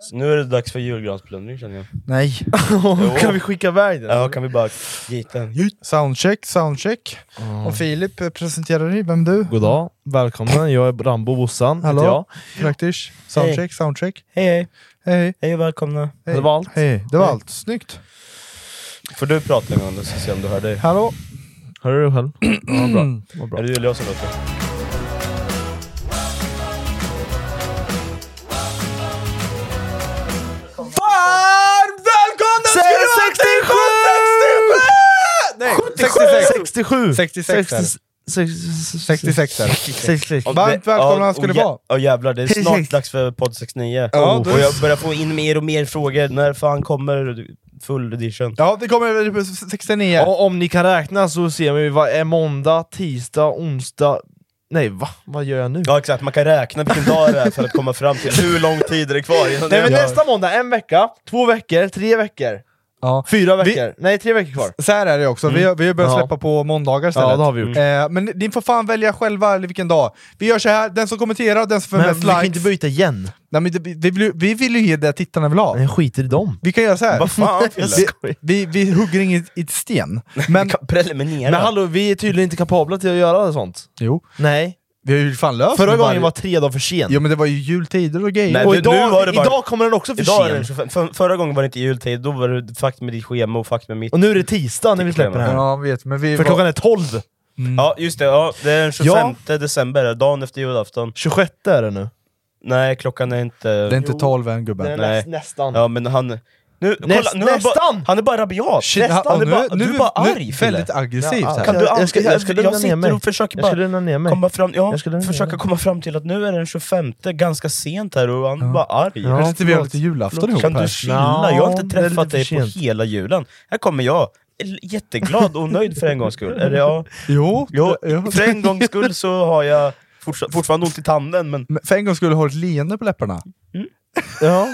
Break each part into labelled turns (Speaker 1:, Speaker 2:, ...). Speaker 1: Så nu är det dags för julgransplundring känner jag.
Speaker 2: Nej.
Speaker 1: Jo.
Speaker 3: kan vi skicka iväg den?
Speaker 1: Ja, kan vi bara gita den?
Speaker 2: Soundcheck, soundcheck. Och Filip eh, presenterar dig, vem du?
Speaker 3: Mm. God dag, välkomna. Jag är Rambo Bossan.
Speaker 2: Hallå?
Speaker 3: Hallå? Jag.
Speaker 2: Praktisch. Soundcheck, soundcheck.
Speaker 1: Hej hej!
Speaker 2: Hej,
Speaker 1: Hej och välkomna!
Speaker 2: hej.
Speaker 3: Det var allt.
Speaker 2: Hej, det var allt. Snyggt.
Speaker 1: Får du prata en gång då, så se om du hör dig?
Speaker 2: Hallå?
Speaker 3: Hör du dig själv? Ja, bra.
Speaker 1: Är
Speaker 3: Vad bra.
Speaker 1: det Julia som låter? Varmt välkomna
Speaker 3: Säg
Speaker 2: 66!
Speaker 3: 67!
Speaker 2: 66 är det. 66 är det.
Speaker 3: 66.
Speaker 2: Varmt välkomna ska ni vara.
Speaker 1: Ja jävlar, det är
Speaker 3: Hej, hej.
Speaker 1: snart dags för podd 69.
Speaker 2: Ja,
Speaker 1: och
Speaker 2: då-
Speaker 1: jag börjar få in mer och mer frågor. När fan kommer full edition?
Speaker 2: Ja, det kommer 69.
Speaker 3: Ja, om ni kan räkna så ser vi vad är måndag, tisdag, onsdag... Nej va? Vad gör jag nu?
Speaker 1: Ja exakt, man kan räkna vilken dag det är för att komma fram till hur lång tid det är kvar innan
Speaker 3: Nej men
Speaker 1: det
Speaker 3: nästa måndag, en vecka, två veckor, tre veckor,
Speaker 2: Ja.
Speaker 3: fyra veckor. Nej, tre veckor kvar.
Speaker 2: Så här är det också, vi, har- vi har börjat
Speaker 3: Mm. Ja.
Speaker 2: släppa på måndagar istället.
Speaker 3: Ja, det har vi gjort.
Speaker 2: Eh, men ni får fan välja själva eller vilken dag. Vi gör så här, den som kommenterar, den som får
Speaker 3: Men
Speaker 2: mest
Speaker 3: vi kan
Speaker 2: likes.
Speaker 3: inte byta igen.
Speaker 2: Nej, men det, vi, vill, ju- vi vill ju ge det tittarna vill ha.
Speaker 3: Jag skiter i dem.
Speaker 2: Vi kan göra så här.
Speaker 1: Vad fan Fille?
Speaker 2: vi, vi, vi hugger inget i sten. Men,
Speaker 1: Preliminära.
Speaker 3: Men hallå, vi är tydligen inte kapabla till att göra sånt.
Speaker 2: jo,
Speaker 3: Nej.
Speaker 2: vi har ju fan löst
Speaker 3: Förra
Speaker 2: det
Speaker 3: gången
Speaker 2: varje-
Speaker 3: var tre dagar för sent.
Speaker 2: Jo men det var ju jultider och grejer.
Speaker 1: Nej,
Speaker 3: och
Speaker 1: du-
Speaker 3: idag,
Speaker 1: nu var det bara-
Speaker 3: idag kommer den också för
Speaker 1: Idag är det den
Speaker 3: sent.
Speaker 1: 25. För, förra gången var det inte jultid, då var det fakt med ditt schema och fakt med mitt.
Speaker 3: Och nu är det tisdag när vi
Speaker 1: Tycker jag
Speaker 3: släpper det här.
Speaker 2: Ja, vet, men vi var,
Speaker 3: För
Speaker 2: Mm,
Speaker 3: klockan är 12.
Speaker 1: Ja just det, ja, det är den 25 december, dagen efter julafton.
Speaker 3: 26 är det nu.
Speaker 1: Nej klockan är inte...
Speaker 2: Det är inte 12 än gubben.
Speaker 1: Nej.
Speaker 3: Näst, nästan.
Speaker 1: Ja men han... Nu, kolla, nu är han, bara,
Speaker 3: nästan!
Speaker 1: han är bara rabiat!
Speaker 2: Shit,
Speaker 1: nästan,
Speaker 2: ja,
Speaker 1: han är bara, du är bara
Speaker 2: nu,
Speaker 1: arg Fille!
Speaker 2: Väldigt aggressivt
Speaker 3: Ja,
Speaker 2: här.
Speaker 1: Kan du
Speaker 3: Jag- jag ska-
Speaker 1: aldrig-
Speaker 3: jag ska lugna
Speaker 1: jag
Speaker 3: ner
Speaker 1: sitter
Speaker 3: mig.
Speaker 1: och försöker
Speaker 3: Jag
Speaker 1: bara...
Speaker 3: ska lugna ner mig.
Speaker 1: komma fram, ja,
Speaker 3: Jag skulle-
Speaker 1: försöka komma fram till att nu är det den 25, ganska sent här och han är bara arg.
Speaker 3: Ja,
Speaker 2: Kanske inte vi har
Speaker 3: förlåt.
Speaker 2: lite julafton ihop
Speaker 1: Kan
Speaker 2: här.
Speaker 1: du chilla? jag har inte
Speaker 3: det är lite
Speaker 1: träffat
Speaker 3: för
Speaker 1: dig på
Speaker 3: sent.
Speaker 1: hela julen. Här kommer jag, l- jätteglad och nöjd för en gångs skull. Eller ja,
Speaker 2: Jo,
Speaker 1: jo,
Speaker 2: det- ja.
Speaker 1: för en gångs skull så har jag fortsa- fortfarande ont i tanden, men
Speaker 2: Men För en gång skulle du ha ett leende på läpparna.
Speaker 3: Ja.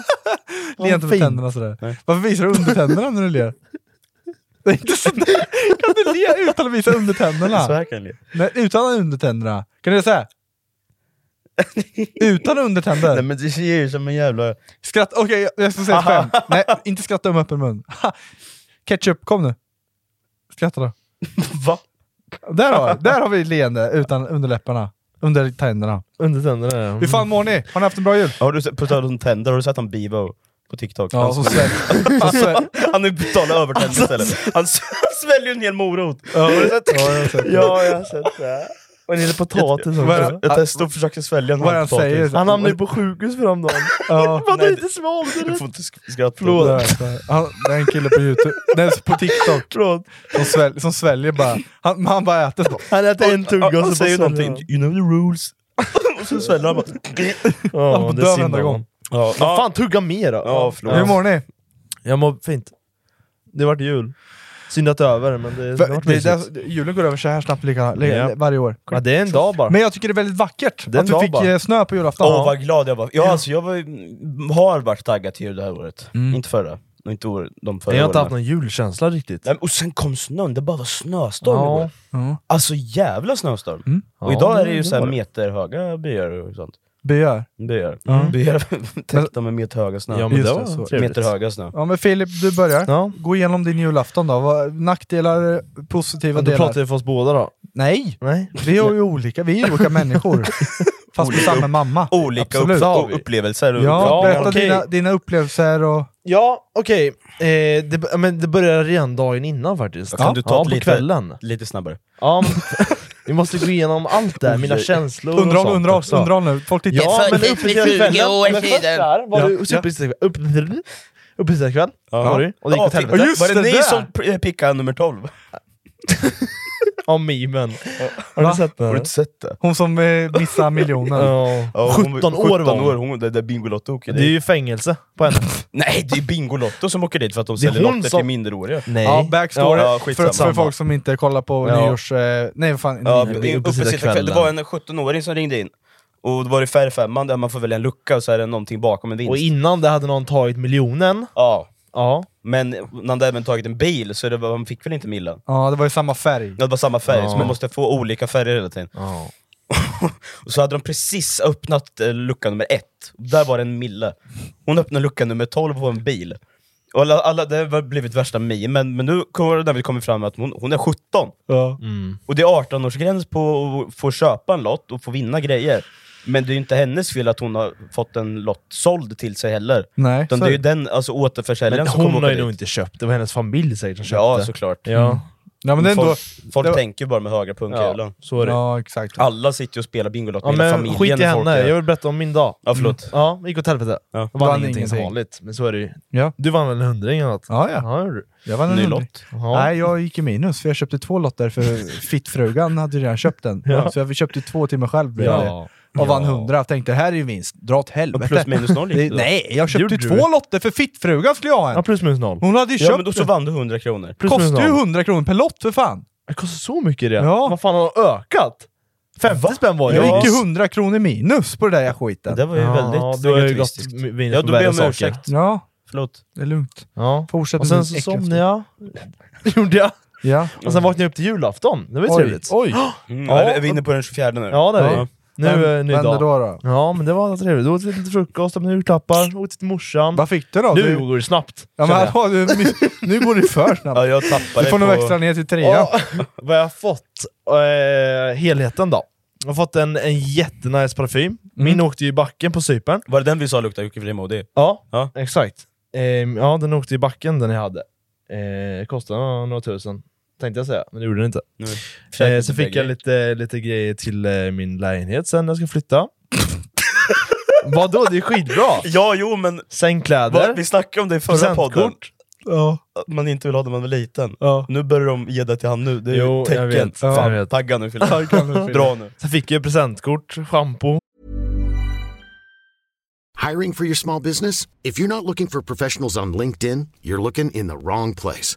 Speaker 2: Leende på
Speaker 3: fint.
Speaker 2: tänderna sådär.
Speaker 1: Nej.
Speaker 2: Varför visar du undertänderna när du ler? Det är inte sådär. Kan du le utan att visa
Speaker 1: så
Speaker 2: undertänderna?
Speaker 1: här kan jag le.
Speaker 2: Nej, utan undertänderna. Kan du säga? Utan
Speaker 1: Nej
Speaker 2: undertänder.
Speaker 1: men det ser ju ut som en jävla...
Speaker 2: Skratt. Okej, jag- jag ska säga ett skämt. Nej, inte skratta med öppen mun. Ha. Ketchup, kom nu. Skratta då.
Speaker 1: Va?
Speaker 2: Där har, där har vi leende utan underläpparna. Under tänderna.
Speaker 3: Under tänderna ja.
Speaker 2: Hur fan mår ni? Har ni haft en bra jul?
Speaker 1: Har du sett, på tal om tänder, har du sett han Bibo på TikTok?
Speaker 2: Ja,
Speaker 1: han,
Speaker 2: så svälj. Så svälj.
Speaker 1: han är totalt övertänd
Speaker 3: Alltså,
Speaker 1: istället. Han s- sväljer en hel morot. Har du sett?
Speaker 2: Ja, jag ser.
Speaker 3: Ja, jag har sett det. Och en hel potatis också.
Speaker 2: Vad är det?
Speaker 1: Jag testade att försöka svälja en
Speaker 2: Vad han
Speaker 1: halv potatis.
Speaker 2: säger.
Speaker 3: Han hamnade ju på sjukhus för dagen.
Speaker 2: Ja.
Speaker 3: Vadå
Speaker 1: Nej,
Speaker 3: inte svalde
Speaker 1: Du
Speaker 3: det?
Speaker 1: får inte sk- skratta.
Speaker 3: Förlåt.
Speaker 2: Han, det är en kille på youtube, nej på tiktok, som, sväl, som sväljer bara. Han, han bara äter så.
Speaker 3: Han äter en tugga
Speaker 1: Ja,
Speaker 3: och
Speaker 1: han
Speaker 3: så
Speaker 1: säger
Speaker 3: bara sväljer
Speaker 1: någonting,
Speaker 3: han.
Speaker 1: you know the rules. och så sväljer han bara.
Speaker 3: Ja,
Speaker 2: Han
Speaker 3: det är
Speaker 2: dör
Speaker 3: synd
Speaker 2: varenda
Speaker 3: om
Speaker 2: gång.
Speaker 3: honom.
Speaker 1: Ja,
Speaker 3: Vad fan, tugga mer då.
Speaker 1: Ja, förlåt.
Speaker 2: Hur mår ni?
Speaker 3: Jag mår fint. Det vart jul. Synd att det är över, men det, det
Speaker 2: För,
Speaker 3: vart
Speaker 2: det,
Speaker 3: mysigt.
Speaker 2: det, julen går över så här snabbt lika, lika,
Speaker 3: Ja.
Speaker 2: varje år.
Speaker 3: Ja, det är en dag bara.
Speaker 2: Men jag tycker det är väldigt vackert
Speaker 3: Det är
Speaker 2: att vi
Speaker 3: bra
Speaker 2: fick
Speaker 3: bara.
Speaker 2: eh, snö på julafton.
Speaker 1: Åh vad glad jag var. Ja, alltså, jag var, har varit taggad till jul det här året.
Speaker 2: Mm.
Speaker 1: Inte förra, och inte år, de förra
Speaker 3: jag har inte haft
Speaker 1: åren.
Speaker 3: någon julkänsla riktigt.
Speaker 1: Nej, men- Och sen kom snön, det bara var snöstorm
Speaker 3: Ja.
Speaker 1: igår.
Speaker 2: Ja.
Speaker 1: Alltså jävla snöstorm.
Speaker 2: Mm.
Speaker 1: Och
Speaker 3: Ja,
Speaker 1: idag är
Speaker 3: det-
Speaker 1: det ju
Speaker 3: det
Speaker 1: så här
Speaker 3: var det.
Speaker 1: meterhöga byar och sånt.
Speaker 2: Byar.
Speaker 1: Byar,
Speaker 2: Mm.
Speaker 1: byar täckta med meterhöga snö.
Speaker 3: Ja, men
Speaker 2: Just
Speaker 3: det
Speaker 2: det,
Speaker 3: var
Speaker 2: så.
Speaker 3: trevligt.
Speaker 1: meterhöga snö.
Speaker 2: Ja men Filip, du börjar.
Speaker 3: Ja.
Speaker 2: Gå igenom din julafton då. Vad- Nackdelar, eh, positiva
Speaker 3: Men då
Speaker 2: delar?
Speaker 3: pratar vi för oss båda då.
Speaker 2: Nej!
Speaker 3: Nej.
Speaker 2: Vi är ju olika, vi är ju olika människor. Fast med samma mamma.
Speaker 1: Olika
Speaker 2: Absolut.
Speaker 1: upp, upplevelser. och
Speaker 2: Ja,
Speaker 3: Ja,
Speaker 1: uppfattningar.
Speaker 2: berätta
Speaker 3: okej.
Speaker 2: dina, dina upplevelser och...
Speaker 3: Ja, okej. Eh, det, ja, men det började redan dagen innan faktiskt.
Speaker 1: Kan du ta
Speaker 3: ja,
Speaker 1: ett
Speaker 3: på
Speaker 1: lite-
Speaker 3: kvällen.
Speaker 1: Lite snabbare.
Speaker 3: Ja, men, vi måste gå igenom allt det här, mina känslor och
Speaker 2: Underhåll,
Speaker 3: sånt
Speaker 2: underhåll,
Speaker 3: också.
Speaker 2: underhåll nu. Folk tittar.
Speaker 3: Ja, men
Speaker 4: föddes
Speaker 3: upp
Speaker 4: för
Speaker 3: till
Speaker 4: 20
Speaker 3: kvällen.
Speaker 4: år
Speaker 3: Men först
Speaker 4: sedan.
Speaker 3: där var
Speaker 2: Ja.
Speaker 3: du uppesittarkvällen. Upp, uppesittarkvällen var du, och det gick åt
Speaker 1: fick-
Speaker 3: helvete.
Speaker 2: just
Speaker 1: var det,
Speaker 2: det
Speaker 1: ni
Speaker 2: där.
Speaker 1: som p- pickade nummer 12?
Speaker 3: Ja, memen. Har
Speaker 2: Va?
Speaker 3: du sett den?
Speaker 1: sett det?
Speaker 2: Hon som eh, missar miljonen.
Speaker 3: Ja.
Speaker 1: Ja,
Speaker 3: 17 år var hon.
Speaker 1: hon. Det där Bingolotto åker
Speaker 3: Det är ju fängelse på henne.
Speaker 1: Nej, det är Bingolotto som åker dit för att de
Speaker 3: Det är
Speaker 1: säljer
Speaker 3: hon
Speaker 1: lotter
Speaker 3: som-
Speaker 1: till minderåriga.
Speaker 3: Nej.
Speaker 2: Ja, backstory.
Speaker 1: Ja, ja,
Speaker 2: för,
Speaker 1: skitsamma.
Speaker 2: för folk som inte kollar på
Speaker 3: Ja.
Speaker 2: nyårs... Eh, nej, vad fan.
Speaker 1: Ja,
Speaker 3: Nej,
Speaker 1: uppe
Speaker 3: det är
Speaker 1: uppe
Speaker 3: uppe
Speaker 1: sitta
Speaker 3: sitta
Speaker 1: kväll. Det
Speaker 3: kvällen.
Speaker 1: var en 17-åring som ringde in. Och då var det färgfemman där man får välja en lucka och så är det någonting bakom en vinst.
Speaker 3: och innan det hade någon tagit miljonen.
Speaker 1: Ja,
Speaker 3: Ja.
Speaker 1: men när hade även tagit en bil så det var, man fick väl inte millen?
Speaker 2: Ja, det var ju samma färg.
Speaker 1: Ja, Det var samma färg,
Speaker 3: Ja.
Speaker 1: så man måste få olika färger hela tiden. Och så hade de precis öppnat eh, lucka nummer ett, och där var det en mille. Hon öppnade lucka nummer 12 på en bil. Och alla, alla, det har blivit värsta memen, men nu kommer det när vi kommer fram att hon, hon är 17.
Speaker 2: Ja.
Speaker 3: Mm.
Speaker 1: Och det är 18-årsgräns på att få köpa en lott och få vinna grejer. Men det är ju inte hennes fel att hon har fått en lott såld till sig heller.
Speaker 2: Nej,
Speaker 1: Utan
Speaker 2: så
Speaker 1: det är
Speaker 2: är
Speaker 1: ju den alltså, återförsäljaren
Speaker 3: Men
Speaker 1: som kommer
Speaker 3: hon har ju
Speaker 1: åka
Speaker 3: nog
Speaker 1: dit.
Speaker 3: inte köpt, det var hennes familj säkert som köpte. Mm.
Speaker 1: Ja, såklart.
Speaker 3: ja.
Speaker 2: Ja, men det är ändå...
Speaker 1: folk folk
Speaker 2: det var-
Speaker 1: tänker ju bara med högra pungkulan.
Speaker 3: så är det.
Speaker 2: Ja, exakt.
Speaker 1: Alla sitter ju och spelar Bingolotto,
Speaker 3: Ja,
Speaker 1: hela
Speaker 3: men
Speaker 1: familjen.
Speaker 3: skit i
Speaker 1: och folk
Speaker 3: henne,
Speaker 1: är-
Speaker 3: jag vill berätta om min dag.
Speaker 1: Ja, förlåt.
Speaker 3: Ja, gick åt helvete.
Speaker 1: Ja.
Speaker 3: Jag vann,
Speaker 2: Vann
Speaker 3: ingenting som
Speaker 2: ingenting.
Speaker 3: vanligt, men så är det ju.
Speaker 2: Ja.
Speaker 3: Du vann väl en hundring eller något?
Speaker 2: Ja, ja.
Speaker 3: Ja, det gjorde du.
Speaker 2: Jag vann en
Speaker 1: Ny
Speaker 2: hundring.
Speaker 1: lott.
Speaker 3: Ja.
Speaker 2: Nej, jag gick i minus för jag köpte två lotter för fittfrugan hade ju redan köpt den.
Speaker 3: Ja.
Speaker 2: Så jag köpte två till mig själv blev det.
Speaker 3: Ja.
Speaker 2: och vann
Speaker 3: Ja.
Speaker 2: 100. Tänkte här är ju vinst, dra åt
Speaker 1: Och
Speaker 2: helvete.
Speaker 1: plus minus noll gick
Speaker 2: det,
Speaker 1: det då.
Speaker 2: nej, jag köpte
Speaker 3: Gjorde
Speaker 2: ju
Speaker 3: du?
Speaker 2: två lotter för fittfrugan skulle jag ha
Speaker 3: ja,
Speaker 2: en.
Speaker 3: plus minus noll.
Speaker 2: Hon hade ju köpt
Speaker 1: Ja, men då så vann du 100 kronor.
Speaker 3: Plus minus
Speaker 2: Kostar ju
Speaker 3: noll.
Speaker 2: 100 kronor per lott för fan!
Speaker 3: Det kostar så mycket det.
Speaker 2: Ja.
Speaker 3: Vad fan har de ökat? 50 spänn var det
Speaker 2: Jag
Speaker 1: Ja.
Speaker 2: gick ju 100 kronor minus på det där skiten.
Speaker 1: Det var ju
Speaker 3: ja,
Speaker 1: väldigt
Speaker 3: du har ju gått
Speaker 1: egoistiskt.
Speaker 3: vinet
Speaker 1: Ja,
Speaker 3: på
Speaker 1: då ber
Speaker 3: värre
Speaker 1: jag om
Speaker 3: saker.
Speaker 1: ursäkt.
Speaker 2: Ja,
Speaker 1: Förlåt.
Speaker 2: det är lugnt.
Speaker 3: Ja.
Speaker 2: Fortsätt
Speaker 3: Och
Speaker 2: med
Speaker 3: sen
Speaker 2: din
Speaker 3: så
Speaker 2: äckliga
Speaker 3: somnade
Speaker 2: skit.
Speaker 3: jag. gjorde jag.
Speaker 2: Ja.
Speaker 3: Och sen vaknade jag upp till julafton. Det var ju
Speaker 2: Oj,
Speaker 3: trevligt.
Speaker 2: oj!
Speaker 1: Mm.
Speaker 3: Ja.
Speaker 1: Ja, är vi inne på den 24 nu?
Speaker 3: Ja, det är vi.
Speaker 2: Ja.
Speaker 3: Nu är ny
Speaker 2: Vem
Speaker 3: dag.
Speaker 2: då då?
Speaker 3: Ja, men det var trevligt. Då åt vi lite frukost, öppnade julklappar, åt till morsan.
Speaker 2: Vad fick du då?
Speaker 3: Nu går det snabbt.
Speaker 2: ja, men,
Speaker 3: känner jag.
Speaker 2: hallå, du, nu går det för snabbt.
Speaker 1: Ja, jag tappade
Speaker 2: Du får
Speaker 1: på...
Speaker 2: nog växla ner till trea.
Speaker 3: Ja, vad jag har fått, eh, helheten då. Jag har fått en, en jättenice parfym. Min
Speaker 2: Mm.
Speaker 3: åkte ju i backen på Cypern.
Speaker 1: Var det den vi sa luktade Jocke Frimodig?
Speaker 3: Ja,
Speaker 1: Ja.
Speaker 3: exakt. Ehm, ja, den åkte i backen den jag hade. Eh, kostade några, några tusen, tänkte jag säga, men det gjorde den inte. Eh, så fick jag lite, lite grejer till eh, min lägenhet sen när jag ska flytta. Vadå? Det är skitbra!
Speaker 1: Ja, jo men
Speaker 3: Sängkläder,
Speaker 1: vi snackade om det i förra podden.
Speaker 3: presentkort.
Speaker 2: Ja.
Speaker 1: Att man inte vill ha det när man var liten.
Speaker 3: Ja.
Speaker 1: Nu börjar de ge det till han nu, det är
Speaker 3: Jo,
Speaker 1: ju
Speaker 3: jag
Speaker 1: tecken.
Speaker 3: vet. Ja,
Speaker 1: Fan,
Speaker 3: jag vet.
Speaker 1: tagga nu Fille.
Speaker 2: kan du, Fille.
Speaker 1: Dra nu.
Speaker 3: Sen fick jag presentkort, shampoo.
Speaker 4: Hiring for your small business? If you're not looking for professionals on LinkedIn, you're looking in the wrong place.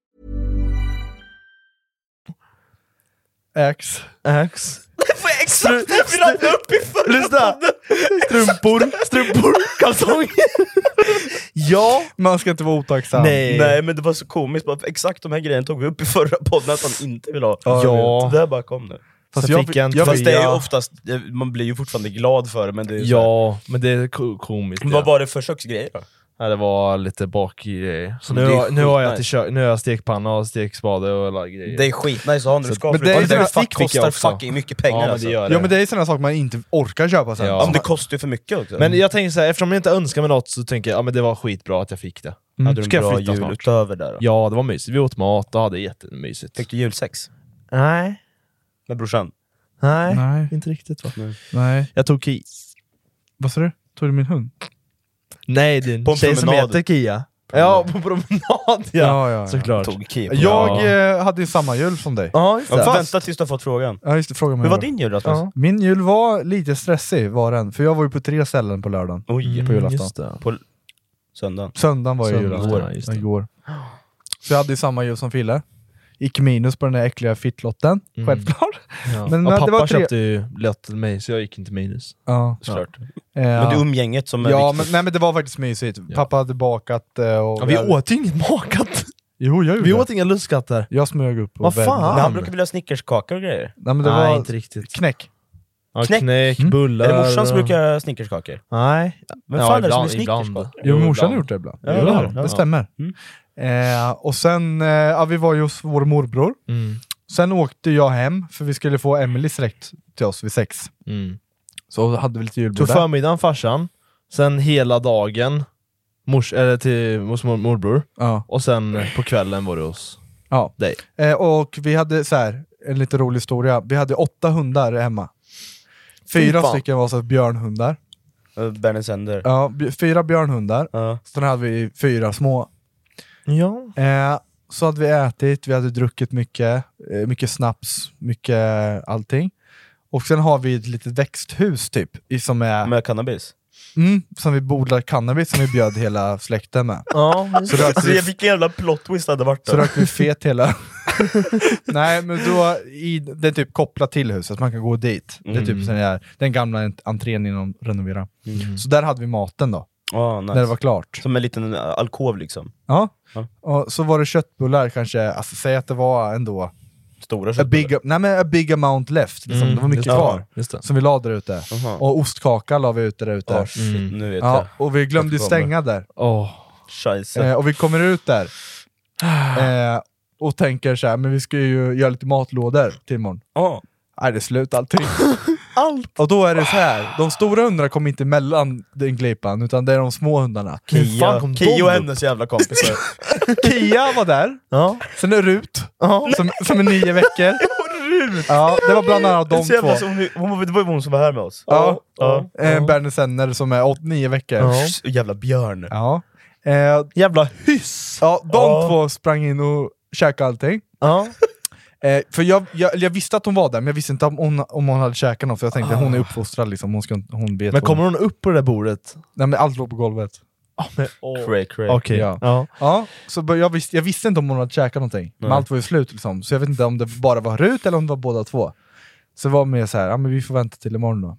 Speaker 3: Ax. Ax.
Speaker 1: Exakt det vi la upp i förra
Speaker 3: Lyssna! Strumpor, strumpor, kalsonger. ja.
Speaker 2: Man ska inte vara otacksam.
Speaker 3: Nej.
Speaker 1: Nej men det var så komiskt, bara, för exakt de här grejerna tog vi upp i förra podden att han inte vill ha.
Speaker 3: Ja, jag vet.
Speaker 1: Det där bara kom nu.
Speaker 3: Fast
Speaker 2: jag
Speaker 3: jag fick en
Speaker 2: jag-
Speaker 1: Fast det är ju
Speaker 3: tröja.
Speaker 1: oftast, eh, man blir ju fortfarande glad för det men det är ju så här-
Speaker 3: Ja, men det är ko- komiskt.
Speaker 1: Vad
Speaker 3: Ja.
Speaker 1: var det för köksgrejer då?
Speaker 3: Ja, det var lite bakgrejer. Så
Speaker 1: Men
Speaker 3: nu,
Speaker 1: det är
Speaker 3: har- nu har jag
Speaker 1: skitnice.
Speaker 3: till kö- nu har jag stekpanna och stekspade och alla grejer.
Speaker 1: Det är skitnice att ha när du ska
Speaker 2: Men det är
Speaker 1: flytta.
Speaker 2: såna-
Speaker 1: Det,
Speaker 3: fick
Speaker 1: det
Speaker 3: jag
Speaker 1: kostar
Speaker 3: också.
Speaker 1: fucking mycket pengar
Speaker 3: ja, men
Speaker 1: alltså.
Speaker 3: det gör det.
Speaker 2: Ja men det är sådana saker man inte orkar köpa sen.
Speaker 1: Ja,
Speaker 3: Ja.
Speaker 1: men det kostar ju för mycket också.
Speaker 3: Men jag tänker så här, eftersom jag inte önskar mig något så tänker jag ja, men det var skitbra att jag fick det.
Speaker 1: hade du
Speaker 3: Ska
Speaker 1: en
Speaker 3: jag
Speaker 1: bra
Speaker 3: flytta
Speaker 1: jul
Speaker 3: snart?
Speaker 1: utöver där då?
Speaker 3: Ja, det var mysigt. Vi åt mat och hade jättemysigt.
Speaker 1: Fick du julsex?
Speaker 3: Nej.
Speaker 1: Med brorsan?
Speaker 3: Nej.
Speaker 2: Nej.
Speaker 3: Inte riktigt va?
Speaker 2: Nej.
Speaker 3: Jag tog Kia.
Speaker 2: Vad sa du? Tog du min hund?
Speaker 3: Nej, det är
Speaker 1: På en
Speaker 3: en tjej som
Speaker 1: promenad.
Speaker 3: heter Kia. Ja, på promenad ja.
Speaker 2: Ja, ja, ja.
Speaker 3: Såklart.
Speaker 1: Tog keep.
Speaker 2: Jag
Speaker 3: Ja.
Speaker 2: eh, hade ju samma jul som dig.
Speaker 3: Ja, just
Speaker 1: Ja,
Speaker 3: det.
Speaker 1: vänta tills du har fått frågan.
Speaker 2: Ja, just det, fråga mig.
Speaker 1: Hur var
Speaker 2: då.
Speaker 1: din jul Rasmus?
Speaker 3: Ja.
Speaker 2: Min jul var lite stressig, var den. För jag var ju på tre ställen på lördagen.
Speaker 1: Oj,
Speaker 2: på julafton.
Speaker 3: Mm, Just det.
Speaker 1: på söndagen.
Speaker 2: Söndagen var ju
Speaker 3: Söndagen,
Speaker 2: julafton.
Speaker 3: ja, just det.
Speaker 2: Igår. Så jag hade ju samma jul som Fille. gick minus på den där äckliga fittlotten,
Speaker 3: Mm.
Speaker 2: självklart.
Speaker 3: Ja.
Speaker 2: Men
Speaker 3: ja,
Speaker 2: att det
Speaker 3: pappa
Speaker 2: var tre-
Speaker 3: köpte ju lött till mig, så jag gick inte minus.
Speaker 2: Ja.
Speaker 3: Såklart.
Speaker 2: Ja.
Speaker 3: Ja.
Speaker 1: Men det är umgänget som är
Speaker 2: ja, men,
Speaker 1: viktigt.
Speaker 2: nej, men det var faktiskt mysigt.
Speaker 3: Ja.
Speaker 2: Pappa hade bakat eh, och...
Speaker 3: vi åt ju inget makat!
Speaker 2: Jo, jag
Speaker 3: Vi
Speaker 2: gjorde
Speaker 3: åt
Speaker 2: det.
Speaker 3: inga lustkatter.
Speaker 2: Jag smög upp och
Speaker 3: Vad
Speaker 2: värmde.
Speaker 3: fan?
Speaker 1: Men han brukar vilja ha snickerskakor och grejer.
Speaker 2: Nej, men det
Speaker 3: Nej,
Speaker 2: var
Speaker 3: inte riktigt.
Speaker 2: knäck.
Speaker 3: Ja,
Speaker 1: Knäck.
Speaker 3: knäck,
Speaker 2: Mm.
Speaker 3: bullar...
Speaker 1: Är det morsan som
Speaker 3: och-
Speaker 1: brukar göra snickerskakor?
Speaker 3: Nej.
Speaker 1: Vem
Speaker 3: Ja,
Speaker 1: fan är det som
Speaker 3: ibland-
Speaker 1: är snickerskakor?
Speaker 2: Jo, morsan
Speaker 3: ibland.
Speaker 2: har gjort det ibland.
Speaker 3: Ja,
Speaker 2: Jo,
Speaker 3: det
Speaker 2: det,
Speaker 3: har
Speaker 2: har
Speaker 3: hon.
Speaker 2: det
Speaker 3: Ja. Mm.
Speaker 2: stämmer. Eh, och sen, eh, ja, vi var ju hos vår morbror.
Speaker 3: Mm.
Speaker 2: Sen åkte jag hem, för vi skulle få Emily släkt till oss vid sex.
Speaker 3: Mm.
Speaker 2: Så hade vi lite julbord
Speaker 3: Tog
Speaker 2: där.
Speaker 3: förmiddagen farsan, sen hela dagen mors, eller till, hos mor, morbror,
Speaker 2: Ja.
Speaker 3: och sen på kvällen var det hos
Speaker 2: Ja.
Speaker 3: dig.
Speaker 2: Eh, och vi hade så här, en lite rolig historia. Vi hade åtta hundar hemma. Fyra
Speaker 3: Fy fan.
Speaker 2: stycken var så här björnhundar.
Speaker 1: Eh, Bernie Sender.
Speaker 2: Ja, b- fyra björnhundar.
Speaker 1: Ja.
Speaker 2: Sen hade vi fyra små.
Speaker 3: Ja.
Speaker 2: Eh, så hade vi ätit, vi hade druckit mycket, eh, mycket snaps, mycket allting. Och sen har vi ett litet växthus typ, i- som, är,
Speaker 1: Med cannabis.
Speaker 2: mm, som vi odlar cannabis som vi bjöd hela släkten med.
Speaker 3: ja.
Speaker 2: Så rökte vi,
Speaker 1: vilken jävla plot twist hade varit
Speaker 2: så rökte vi fet hela... Nej, men då, i, det är typ kopplat till huset, man kan gå dit. Det är typ
Speaker 3: Mm.
Speaker 2: sån där, den gamla ent- entrén innan de renoverar. Så där hade vi maten då,
Speaker 1: Ja, Mm. nice.
Speaker 2: när det var klart.
Speaker 1: Som en liten eh, alkov liksom.
Speaker 2: Ja.
Speaker 1: Ja.
Speaker 2: Och så var det köttbullar kanske, alltså, säg att det var ändå
Speaker 1: Stora
Speaker 2: a
Speaker 1: köttbullar.
Speaker 2: big, nej, men a big amount left, liksom. det var mycket
Speaker 3: just
Speaker 2: kvar.
Speaker 3: Just det.
Speaker 2: Som vi la där ute.
Speaker 1: Aha.
Speaker 2: Och ostkaka la vi ute där ute.
Speaker 1: Ah, shit,
Speaker 3: Mm.
Speaker 1: nu vet
Speaker 2: ja, och vi glömde ju
Speaker 1: Jag kommer.
Speaker 2: stänga där.
Speaker 3: Åh.
Speaker 1: jag.
Speaker 2: Eh,
Speaker 1: Eh,
Speaker 2: och vi kommer ut där eh, och tänker så här, men vi ska ju göra lite matlådor till imorgon.
Speaker 1: ah.
Speaker 2: Nej, det är slut allting. Allt! Och då är det så här, de stora hundarna kommer inte mellan den glipan, utan det är de små hundarna.
Speaker 3: Hur fan kom
Speaker 1: Kia, Kia
Speaker 3: de
Speaker 1: och
Speaker 3: upp?
Speaker 1: hennes jävla kompisar.
Speaker 2: Kia var där,
Speaker 3: Ja.
Speaker 2: sen är Rut, som, som är nio veckor. Rut! Ja, det var bland annat de
Speaker 1: Så jävla
Speaker 2: två.
Speaker 1: som hon- hon var- Det var ju hon som var här med oss.
Speaker 2: Ja.
Speaker 1: Ja.
Speaker 2: Eh, Bernie Senner som är åt nio veckor.
Speaker 3: Ja.
Speaker 1: Så Jävla björn.
Speaker 2: Ja. Eh,
Speaker 3: Jävla hyss!
Speaker 2: ja, de
Speaker 1: Ja.
Speaker 2: två sprang in och käkade allting.
Speaker 3: Ja.
Speaker 2: Eh, för jag, jag, eller jag visste att hon var där, men jag visste inte om hon, om hon hade käkat något, för jag tänkte hon är uppfostrad liksom, hon, ska, inte- hon vet
Speaker 3: Men
Speaker 2: vad
Speaker 3: kommer
Speaker 2: hon...
Speaker 3: hon upp på det där bordet?
Speaker 2: Nej, men allt låg på golvet.
Speaker 1: Cray, cray.
Speaker 3: Okej.
Speaker 2: Ja.
Speaker 3: Ja.
Speaker 2: Ja, så bör- jag, visste, jag visste inte om hon hade käkat någonting, men
Speaker 1: Nej.
Speaker 2: allt var ju slut liksom. Så jag vet inte om det bara var Rut eller om det var båda två. Så det var mer så här, ja men vi får vänta till imorgon då.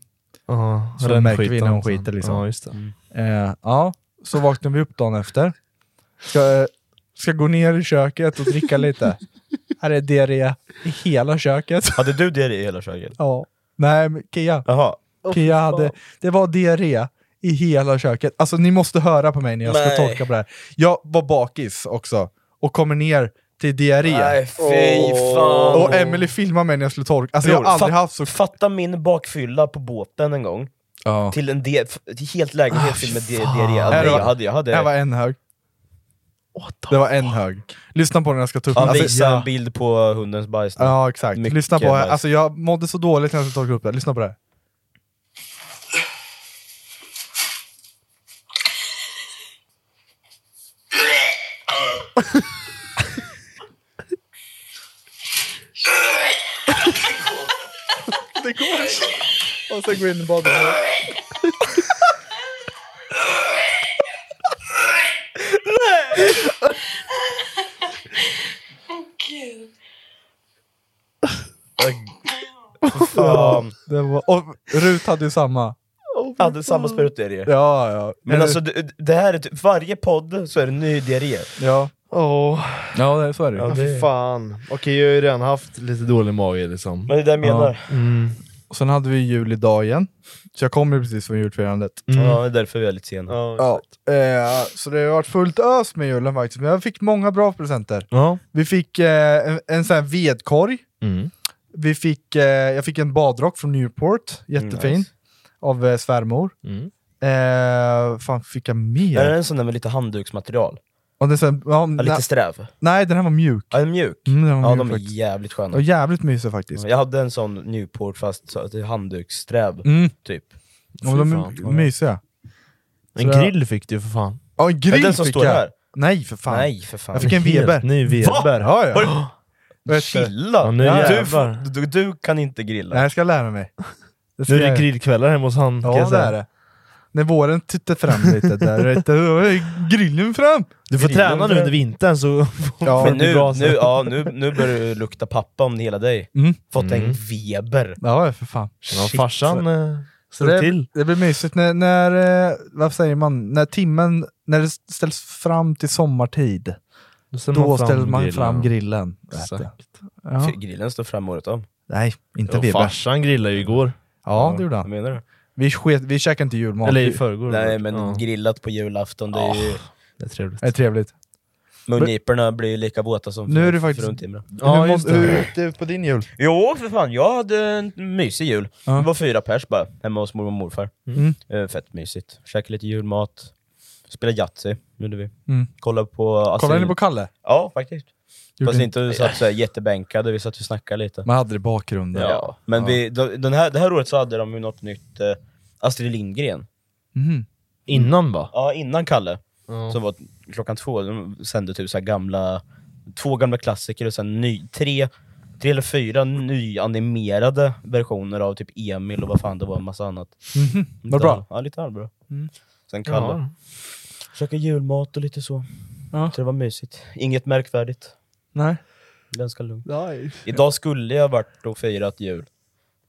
Speaker 3: Ja,
Speaker 2: Så
Speaker 3: den
Speaker 2: märker vi
Speaker 3: skiten
Speaker 2: när hon
Speaker 3: alltså.
Speaker 2: skiter, liksom.
Speaker 3: Ja, just det.
Speaker 1: Mm.
Speaker 2: Eh, ja, så vaknade vi upp dagen efter. Ska, eh, ska gå ner i köket och dricka lite. Här är diarré i hela köket.
Speaker 1: Hade du diarré i hela köket?
Speaker 2: Ja. Nej, men Kia.
Speaker 1: Jaha.
Speaker 2: Kia hade, det var diarré i hela köket. Alltså ni måste höra på mig när jag ska
Speaker 1: Nej.
Speaker 2: tolka på det här. Jag var bakis också och kommer ner till diarré.
Speaker 1: fy fan.
Speaker 2: Och Emily filmade mig när jag skulle torka. Alltså jag
Speaker 1: Bror,
Speaker 2: har aldrig
Speaker 1: fat-
Speaker 2: haft så...
Speaker 1: Fatta min bakfylla på båten en gång.
Speaker 2: Ja.
Speaker 1: Till en del, till helt lägenhet fylld med di- diarré. Ja,
Speaker 2: Här
Speaker 1: nej,
Speaker 2: var-
Speaker 1: E. Alltså, Jag hade, jag hade.
Speaker 2: Det här var en hög. Det var en hög. Lyssna på den när jag ska ta upp den.
Speaker 1: Han
Speaker 2: Alltså,
Speaker 1: visade
Speaker 2: ja.
Speaker 1: en bild på hundens bajs. nu.
Speaker 2: Ja, exakt.
Speaker 1: Mycket
Speaker 2: Lyssna på
Speaker 1: bajs.
Speaker 2: Alltså jag mådde så dåligt när jag skulle torka upp det. Lyssna på det här. Det går inte. Och sen gå in i badrummet.
Speaker 1: Fan.
Speaker 2: Det var... Och Rut hade ju samma.
Speaker 1: hade samma sprutdiarré.
Speaker 2: Ja, ja.
Speaker 1: E. Men alltså, det, det här är typ, varje podd så är det ny E. diarré.
Speaker 2: Ja,
Speaker 3: Åh,
Speaker 2: ja det, så är det ju.
Speaker 1: Ja, det-
Speaker 3: fan. Okej, jag har ju redan haft lite dålig mage liksom.
Speaker 1: Men det är det jag menar.
Speaker 2: Och sen hade vi jul idag igen. Så jag kom ju precis från julfirandet.
Speaker 1: Ja. det är därför vi är lite sena.
Speaker 2: Ja, eh, så det har varit fullt ös med julen faktiskt, men jag fick många bra presenter.
Speaker 3: Ja.
Speaker 2: Vi fick eh, en, en sån här vedkorg,
Speaker 3: Mm.
Speaker 2: vi fick, eh, jag fick en badrock från Newport, jättefin,
Speaker 1: Mm, Nice.
Speaker 2: av eh, svärmor.
Speaker 3: Mm.
Speaker 2: Eh, fan fick jag
Speaker 1: Är
Speaker 2: mer?
Speaker 1: det en sån där med lite handduksmaterial?
Speaker 2: Och den, sen, ja,
Speaker 1: Ja, lite
Speaker 2: na,
Speaker 1: sträv?
Speaker 2: nej, den här var mjuk.
Speaker 1: Ja, den är mjuk.
Speaker 2: Mm, den var
Speaker 1: Ja,
Speaker 2: mjuk
Speaker 1: de är
Speaker 2: faktiskt.
Speaker 1: jävligt sköna.
Speaker 2: Och jävligt mysig faktiskt.
Speaker 1: Liksom. Jag hade en sån Newport fast så att det är handdukssträv,
Speaker 2: Mm,
Speaker 1: typ.
Speaker 2: ja, men de är
Speaker 3: fan.
Speaker 2: mysiga.
Speaker 3: En
Speaker 2: Så-
Speaker 3: grill fick du ju för fan.
Speaker 2: Ja, en
Speaker 1: Är det
Speaker 2: grill
Speaker 1: den som
Speaker 2: fick
Speaker 1: står
Speaker 2: jag.
Speaker 1: här?
Speaker 2: Nej för fan.
Speaker 1: Nej, för fan.
Speaker 2: Jag fick en Weber.
Speaker 3: Helt ny Weber.
Speaker 2: Ja, ja.
Speaker 1: Har
Speaker 2: Vad heter det?
Speaker 1: Chilla!
Speaker 3: Ja, nu
Speaker 1: du,
Speaker 3: jävlar.
Speaker 1: får- du, du kan inte grilla.
Speaker 2: Nej, jag ska lära mig. Det ska
Speaker 3: Nu är
Speaker 2: jag-
Speaker 3: det grillkvällar hemma hos han kan
Speaker 2: Ja,
Speaker 3: jag
Speaker 2: det
Speaker 3: säga.
Speaker 2: är det. När våren tittar fram lite där, vet du, då är grillen fram!
Speaker 3: Du får
Speaker 2: Grillen
Speaker 3: träna nu
Speaker 2: fram.
Speaker 3: under vintern så...
Speaker 2: Ja,
Speaker 1: Men nu,
Speaker 3: bra, så.
Speaker 1: nu, ja, nu, nu börjar det lukta pappa om hela dig.
Speaker 2: Mm.
Speaker 1: Fått en Weber.
Speaker 2: Ja, för fan.
Speaker 3: Ja, farsan eh,
Speaker 2: Så
Speaker 3: slog
Speaker 2: det,
Speaker 3: till.
Speaker 2: det blir mysigt när, när, eh, vad säger man, när timmen, när det ställs fram till sommartid,
Speaker 3: Då, ställer
Speaker 2: då
Speaker 3: fram
Speaker 2: ställer man
Speaker 3: grillen.
Speaker 2: fram grillen.
Speaker 3: Exakt.
Speaker 2: Vet du. Ja.
Speaker 1: Fy, Grillen står fram året om.
Speaker 2: Nej, inte
Speaker 3: Jo,
Speaker 2: Weber.
Speaker 3: farsan grillade ju igår.
Speaker 2: Ja, det gjorde
Speaker 1: Vad
Speaker 2: han.
Speaker 1: menar du?
Speaker 2: Vi, sket, vi käkade inte julmat.
Speaker 3: Eller i
Speaker 2: Det
Speaker 3: förrgår.
Speaker 1: Nej men
Speaker 3: ja.
Speaker 1: grillat på julafton, det är ju,
Speaker 3: det är trevligt.
Speaker 2: är trevligt.
Speaker 1: mungiporna blir ju lika våta som
Speaker 2: Nu är
Speaker 1: för-
Speaker 2: det faktiskt-
Speaker 1: fruntimren.
Speaker 3: Ja,
Speaker 2: hur
Speaker 3: just
Speaker 2: mådde-
Speaker 3: det.
Speaker 2: hur gick det ut på din jul?
Speaker 1: Jo för fan, jag hade en mysig jul.
Speaker 2: Ja.
Speaker 1: Det var fyra pers bara, hemma hos mormor och morfar.
Speaker 2: Mm.
Speaker 1: Eh, fett mysigt. Käkade lite julmat, spelade Yatzy, gjorde vi.
Speaker 2: Mm.
Speaker 1: Kollade på...
Speaker 2: Kollade
Speaker 1: asyl-
Speaker 2: ni på Kalle?
Speaker 1: Ja, faktiskt. Fast
Speaker 2: Gjorde
Speaker 1: inte satt så här jättebänkade, vi satt och snackade lite.
Speaker 2: Man hade det i bakgrunden.
Speaker 1: Ja. Men vi, de- den här, det här året så hade de ju något nytt, eh, Astrid Lindgren.
Speaker 2: Mhm.
Speaker 3: Innan va?
Speaker 1: Ja, innan Kalle,
Speaker 3: Ja.
Speaker 1: som var klockan två, de sände typ så här gamla, två gamla klassiker och sen ny, tre, tre eller fyra nyanimerade versioner av typ Emil och vad fan det var, en massa annat.
Speaker 2: Mhm. Vad
Speaker 1: Lite
Speaker 2: bra.
Speaker 1: all- Ja, lite allbra.
Speaker 2: Mm.
Speaker 1: Sen Kalle.
Speaker 3: Ja.
Speaker 1: Käka julmat och lite så.
Speaker 2: Ja.
Speaker 1: Så det var mysigt. Inget märkvärdigt.
Speaker 2: Nej.
Speaker 1: Ganska lugnt. Idag skulle jag varit och firat jul.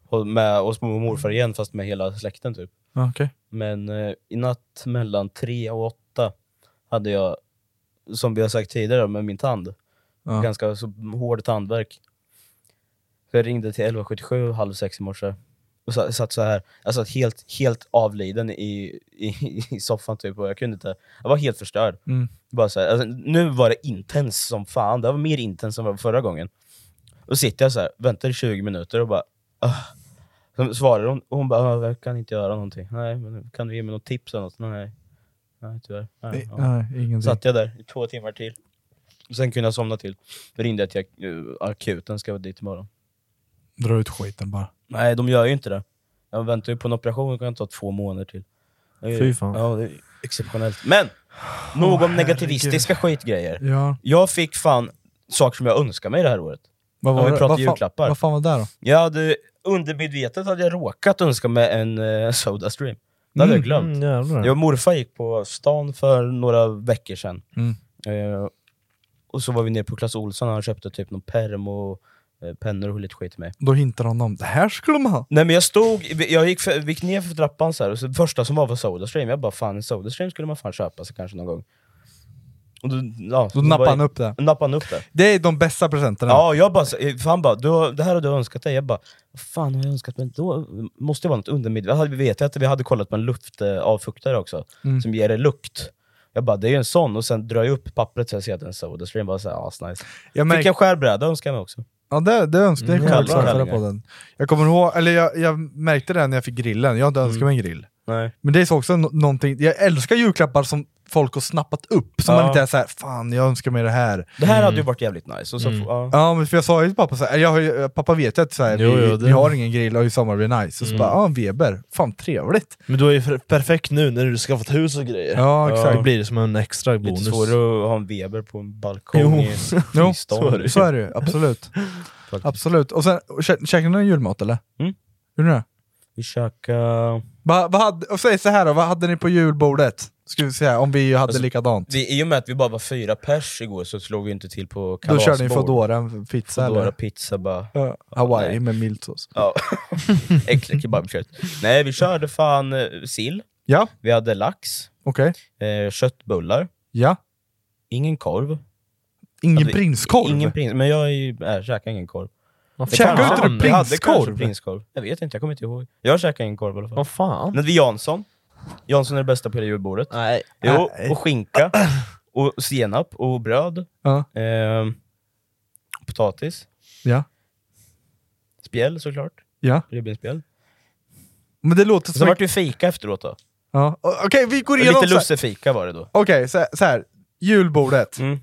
Speaker 1: Och Med oss mormor och morfar igen, fast med hela släkten typ.
Speaker 2: Ja, Okej.
Speaker 1: Men eh, i natt mellan tre och åtta hade jag, som vi har sagt tidigare, med min tand.
Speaker 2: Ja.
Speaker 1: Ganska så hård tandvärk. Så jag ringde till 1177 halv sex i morse. Och sa- satt så här. Jag satt helt, helt avliden i, i, i soffan typ och jag kunde inte... Jag var helt förstörd.
Speaker 2: Mm.
Speaker 1: Bara så här, alltså, nu var det intens som fan. Det var mer intens än vad det var förra gången. Då sitter jag så här, väntar i 20 minuter och bara... "Ah." Så svarar hon och hon bara "Ah, jag kan inte göra någonting. Nej, men kan du ge mig något tips eller något? Nej, nej tyvärr. Nej, ja.
Speaker 2: Nej, ingenting.
Speaker 1: Satt jag där i två timmar till. Sen kunde jag somna till. Då ringde jag till ak- eh, akuten, ska vara dit imorgon.
Speaker 2: Dra ut skiten bara.
Speaker 1: Nej, de gör ju inte det. Jag väntar ju på en operation, det kan ta två månader till. Det är ju-
Speaker 3: Fy fan.
Speaker 1: Ja, det är exceptionellt. Men! Nog om negativistiska skitgrejer.
Speaker 2: Ja.
Speaker 1: Jag fick fan saker som jag önskar mig det här året.
Speaker 2: Vad
Speaker 1: Ja,
Speaker 2: var
Speaker 1: vi
Speaker 2: det?
Speaker 1: pratar
Speaker 2: vad fan-
Speaker 1: julklappar.
Speaker 2: Vad fan var det då?
Speaker 1: Jag hade, undermedvetet hade jag råkat önska mig en eh, Soda Stream. Det hade jag glömt.
Speaker 3: Mm, jävlar.
Speaker 1: Jag och morfar gick på stan för några veckor sedan.
Speaker 2: Mm.
Speaker 1: Eh, och så var vi nere på Clas Ohlson och han köpte typ någon perm och eh, pennor och lite skit till mig.
Speaker 2: Då hintar han om det här skulle man ha.
Speaker 1: Nej men jag stod, jag gick, för, gick ner för trappan så här, och så första som var var Sodastream. Jag bara fan, en Sodastream skulle man fan köpa sig kanske någon gång. Och då, ja,
Speaker 2: Då nappade han upp det.
Speaker 1: Nappade han upp det.
Speaker 2: Det är de bästa presenterna.
Speaker 1: Ja, jag bara, för han bara, du, har- det här har du önskat dig. Jag bara, vad fan har jag önskat mig? Då måste det vara något undermedvetet. Vi vet ju att vi hade kollat på en luftavfuktare också,
Speaker 2: Mm.
Speaker 1: som ger det lukt. Jag bara, det är ju en sån. Och sen drar jag upp pappret så jag ser att det är en Sodastream. Bara såhär, asnice.
Speaker 2: jag
Speaker 1: Fick
Speaker 2: märker,
Speaker 1: en skärbräda önskar jag mig också.
Speaker 2: ja det, det önskar jag
Speaker 1: Mm,
Speaker 2: mm,
Speaker 1: jävlar.
Speaker 2: förra podden. Jag kommer ihåg, eller jag, jag märkte det när jag fick grillen. Jag hade
Speaker 1: Mm.
Speaker 2: önskat mig en grill.
Speaker 1: Nej.
Speaker 2: Men det är så också no någonting, jag älskar julklappar som folk har snappat upp. Som
Speaker 1: Ja.
Speaker 2: man inte är såhär, fan jag önskar mig det här.
Speaker 1: Det här hade ju varit jävligt nice. Och så,
Speaker 3: Mm.
Speaker 1: ja.
Speaker 2: Ja, men för jag sa ju till pappa såhär, jag har ju, pappa vet ju att såhär,
Speaker 3: Jo,
Speaker 2: vi,
Speaker 3: jo, det-
Speaker 2: vi har ingen grill och i sommar blir det nice.
Speaker 1: Mm.
Speaker 2: Så, så bara, ja Weber, fan trevligt.
Speaker 3: Men du är ju för- perfekt nu när du skaffat hus och grejer.
Speaker 2: Ja, exakt.
Speaker 3: Då blir det som en extra
Speaker 1: Lite
Speaker 3: bonus.
Speaker 1: svårare att ha en Weber på en balkong
Speaker 3: Jo.
Speaker 1: i
Speaker 2: Jo,
Speaker 1: Stockholm.
Speaker 2: så är det ju, absolut.
Speaker 1: Faktiskt.
Speaker 2: absolut. Och sen, och kä- käkade ni någon julmat eller?
Speaker 1: Mm.
Speaker 2: Gjorde ni det?
Speaker 1: Vi käkade...
Speaker 2: Vad, vad hade, och säg så här då, vad hade ni på julbordet? Ska vi säga, om vi hade
Speaker 1: Alltså,
Speaker 2: likadant.
Speaker 1: Vi, I och med att vi bara var fyra pers igår så slog vi inte till på
Speaker 2: Då
Speaker 1: kalasbord.
Speaker 2: körde ni Foodora pizza
Speaker 1: Foodora
Speaker 2: eller?
Speaker 1: pizza bara.
Speaker 2: Ja, Hawaii
Speaker 1: Nej.
Speaker 2: med miltsås.
Speaker 1: Ja. Äcklig kebabkött. Nej, vi körde fan eh, sill,
Speaker 2: Ja,
Speaker 1: vi hade lax,
Speaker 2: okej.
Speaker 1: eh, köttbullar,
Speaker 2: Ja.
Speaker 1: ingen korv.
Speaker 2: Ingen
Speaker 1: Hade vi-
Speaker 2: prinskorv?
Speaker 1: Alltså, Ingen prins, men jag är ju- äh, käkar ingen korv.
Speaker 3: Vad
Speaker 2: Käkar
Speaker 3: fan?
Speaker 2: du inte du
Speaker 1: Jag hade kanske
Speaker 2: prinskorv?
Speaker 1: prinskorv. Jag vet inte, jag kommer inte ihåg. Jag käkar ingen korv i alla fall.
Speaker 3: Vad fan?
Speaker 1: Men vi Jansson. Jansson är det bästa på hela julbordet.
Speaker 3: Nej.
Speaker 1: Jo, och skinka, och senap, och bröd,
Speaker 2: Ja.
Speaker 1: ehm, potatis,
Speaker 2: Ja.
Speaker 1: spjäll såklart,
Speaker 2: ja.
Speaker 1: ribbenspjäll.
Speaker 2: Men det låter
Speaker 1: Sen
Speaker 2: som...
Speaker 1: vart det fika efteråt då.
Speaker 2: Ja. O- Okej, vi går igenom...
Speaker 1: Lite
Speaker 2: så här-
Speaker 1: lussefika var det då.
Speaker 2: Okej, så, här- så här. Julbordet.
Speaker 1: Mm.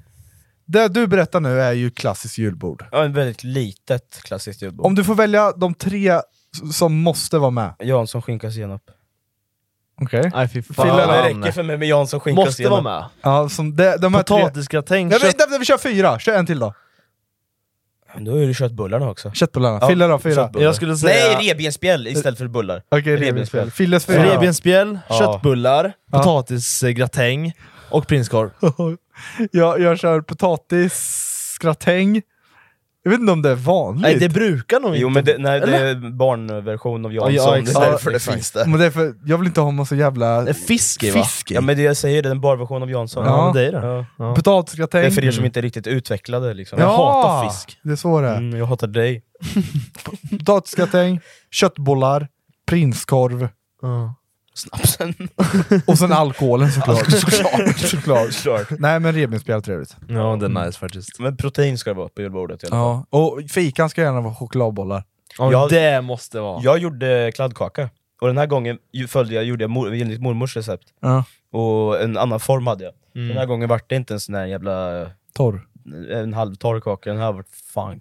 Speaker 2: Det du berättar nu är ju klassiskt julbord.
Speaker 1: Ja, ett väldigt litet klassiskt julbord.
Speaker 2: Om du får välja de tre s- som måste vara med.
Speaker 1: Jansson, skinka, senap.
Speaker 2: Okej.
Speaker 3: Nej fy fan.
Speaker 2: Fylla
Speaker 1: Det räcker för mig med Jansson, skinka,
Speaker 3: Måste
Speaker 1: senap.
Speaker 3: vara med.
Speaker 2: Ja, som de, de här tre...
Speaker 3: Potatisgratäng,
Speaker 2: Nej,
Speaker 3: kött.
Speaker 2: men, nej, vi kör fyra, kör en till då.
Speaker 1: Men då har du kört bullarna också.
Speaker 2: Köttbullarna.
Speaker 1: Ja,
Speaker 2: Fille då, fyra.
Speaker 1: köttbullar.
Speaker 3: Jag skulle säga...
Speaker 1: Nej, revbensspjäll istället för bullar.
Speaker 2: Okej,
Speaker 1: Revbensspjäll.
Speaker 2: revbensspjäll. Filles fyra. då.
Speaker 3: Revbensspjäll,
Speaker 1: Ja.
Speaker 3: köttbullar,
Speaker 2: Ja.
Speaker 3: potatisgratäng och prinskorv.
Speaker 2: jag, jag kör potatisgratäng. Jag vet inte om det är vanligt.
Speaker 3: Nej, det brukar nog inte...
Speaker 1: Jo men det, nej, det är barnversion av Jansson,
Speaker 3: Ja, ja,
Speaker 1: det
Speaker 3: exakt.
Speaker 1: är därför det
Speaker 3: Exakt.
Speaker 1: finns det.
Speaker 2: men det är för, jag vill inte ha någon så jävla...
Speaker 3: Det är fisk i, va?
Speaker 2: Fisk.
Speaker 1: Ja men det jag säger, det är en barnversion av Jansson.
Speaker 3: Ja,
Speaker 2: Ja.
Speaker 3: men det är det.
Speaker 1: Ja.
Speaker 3: Ja.
Speaker 1: Det är
Speaker 2: Potatisgratäng.
Speaker 1: för er som inte är riktigt utvecklade liksom.
Speaker 2: Ja,
Speaker 1: Jag hatar fisk.
Speaker 2: Det är så det är.
Speaker 1: Mm, jag hatar dig.
Speaker 2: Potatisgratäng, köttbullar, prinskorv
Speaker 1: Snapsen.
Speaker 2: och sen alkoholen såklart. såklart. såklart.
Speaker 1: Klart.
Speaker 2: Nej men revbensspjäll är trevligt.
Speaker 3: Ja, det är nice faktiskt.
Speaker 1: Men protein ska det vara på julbordet i alla fall.
Speaker 2: Ja. Och fikan ska gärna vara chokladbollar.
Speaker 3: Ja,
Speaker 1: Jag-
Speaker 3: det måste vara.
Speaker 1: Jag gjorde kladdkaka, och den här gången ju- följde jag, gjorde jag mor, enligt mormors recept.
Speaker 2: Ja.
Speaker 1: Och en annan form hade jag.
Speaker 3: Mm.
Speaker 1: Den här gången vart det inte en sån här jävla,
Speaker 2: Torr.
Speaker 1: en halvtorr kaka, den här vart fan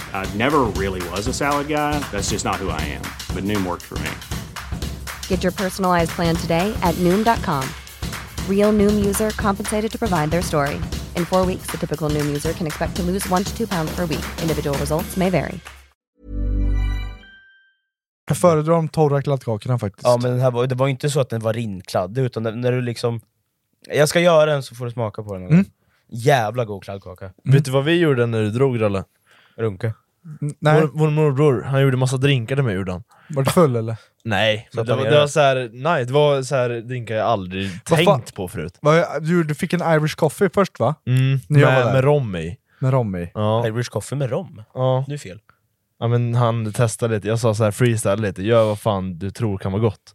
Speaker 5: I never really was a salad guy. That's just not who I am. But Noom worked for me.
Speaker 6: Get your personalized plan today at Noom.com. Real Noom user compensated to provide their story. In four weeks, the typical Noom user can expect to lose one to two pounds per week. Individual results may vary.
Speaker 2: Jag föredrar de torra kladdkakorna faktiskt.
Speaker 1: Ja men den här var, det var ju inte så att den var rinkladd, utan när, när du liksom... Jag ska göra en så får du smaka på den någon
Speaker 2: Mm.
Speaker 1: gång. Jävla god kladdkaka.
Speaker 3: Vet du vad vi gjorde när du drog Ralle?
Speaker 1: Runka.
Speaker 2: N-
Speaker 3: Vår,
Speaker 2: Nej,
Speaker 3: vår morbror, han gjorde massa drinkar till mig gjorde han.
Speaker 2: var du full eller?
Speaker 3: Nej,
Speaker 1: Så
Speaker 3: men
Speaker 1: att
Speaker 3: det,
Speaker 1: han
Speaker 3: var,
Speaker 1: gör
Speaker 3: det
Speaker 1: det.
Speaker 3: var så här, nej, det var så här drinkar jag aldrig
Speaker 2: Vad
Speaker 3: tänkt
Speaker 2: fan?
Speaker 3: på förut.
Speaker 2: Vad- Du, du fick en Irish coffee först va?
Speaker 3: Mm,
Speaker 2: När jag var
Speaker 3: med,
Speaker 2: där.
Speaker 3: med rom i.
Speaker 2: Med rom i.
Speaker 3: Ja.
Speaker 1: Irish coffee med rom?
Speaker 3: Ja.
Speaker 1: Nu är fel.
Speaker 3: ja, men han testade lite. Jag sa så här freestyle lite, gör vad fan du tror kan vara gott.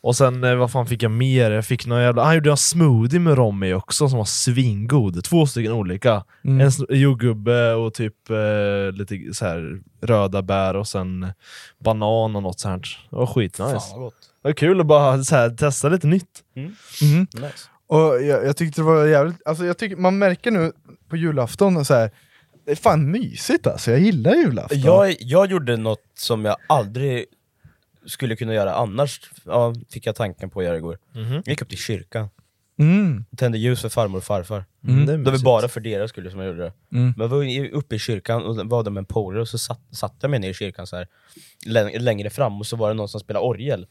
Speaker 3: Och sen, eh, vad fan fick jag mer? Jag fick någon jävla... Han gjorde en smoothie med rom i också som var svingod. Två stycken olika.
Speaker 2: Mm.
Speaker 3: En sn- jordgubbe och typ eh, lite så här röda bär och sen banan och något sånt. Det var skitnice.
Speaker 1: Fan vad gott.
Speaker 3: Det var kul att bara så här, testa lite nytt.
Speaker 2: Mhm.
Speaker 1: Nice.
Speaker 2: Och jag, jag tyckte det var jävligt, alltså jag tycker, man märker nu på julafton och så här. det är fan mysigt alltså, jag gillar julafton.
Speaker 1: Jag, jag gjorde något som jag aldrig skulle kunna göra annars, ja, fick jag tanken på att göra igår. Jag gick upp till kyrkan,
Speaker 2: Mm.
Speaker 1: tände ljus för farmor och farfar.
Speaker 3: Mm. Det är
Speaker 1: Det var
Speaker 3: mysigt.
Speaker 1: bara för deras skull som jag gjorde det.
Speaker 2: Mm.
Speaker 1: Men jag var ju uppe i kyrkan och var där med en polare och så satt, satte jag mig ner i kyrkan så här lä- längre fram och så var det någon som spelade orgel.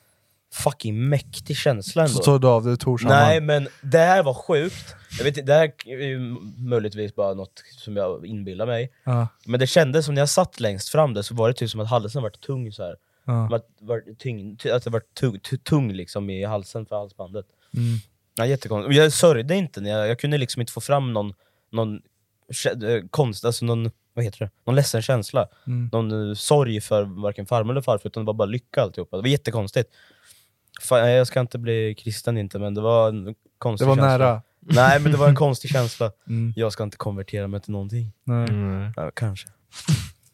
Speaker 1: Fucking mäktig känsla ändå.
Speaker 2: Så tar du av dig Torshammar.
Speaker 1: Nej men det här var sjukt. Jag vet, inte, det här är ju möjligtvis bara något som jag inbillar mig.
Speaker 2: Ja,
Speaker 1: Men det kändes som när jag satt längst fram där så var det typ som att halsen varit tung så här.
Speaker 2: ja.
Speaker 1: Vart, vart tyng, ty- att det varit tung, tu- tung liksom i halsen för halsbandet.
Speaker 2: Mm.
Speaker 1: Ja, jättekonstigt. Och jag sörjde inte, när jag, jag kunde liksom inte få fram någon, någon kä- eh, konst, alltså någon, vad heter det? någon ledsen känsla.
Speaker 2: Mm.
Speaker 1: Någon eh, sorg för varken farmor eller farfar, utan det var bara lycka alltihopa. Det var jättekonstigt. Fan, jag ska inte bli kristen inte, men det var en
Speaker 2: Det
Speaker 1: konstig
Speaker 2: var
Speaker 1: känsla.
Speaker 2: nära.
Speaker 1: Nej, men det var en konstig känsla.
Speaker 2: Mm.
Speaker 1: Jag ska inte konvertera mig till någonting.
Speaker 2: Nej.
Speaker 3: Mm.
Speaker 1: Ja, kanske.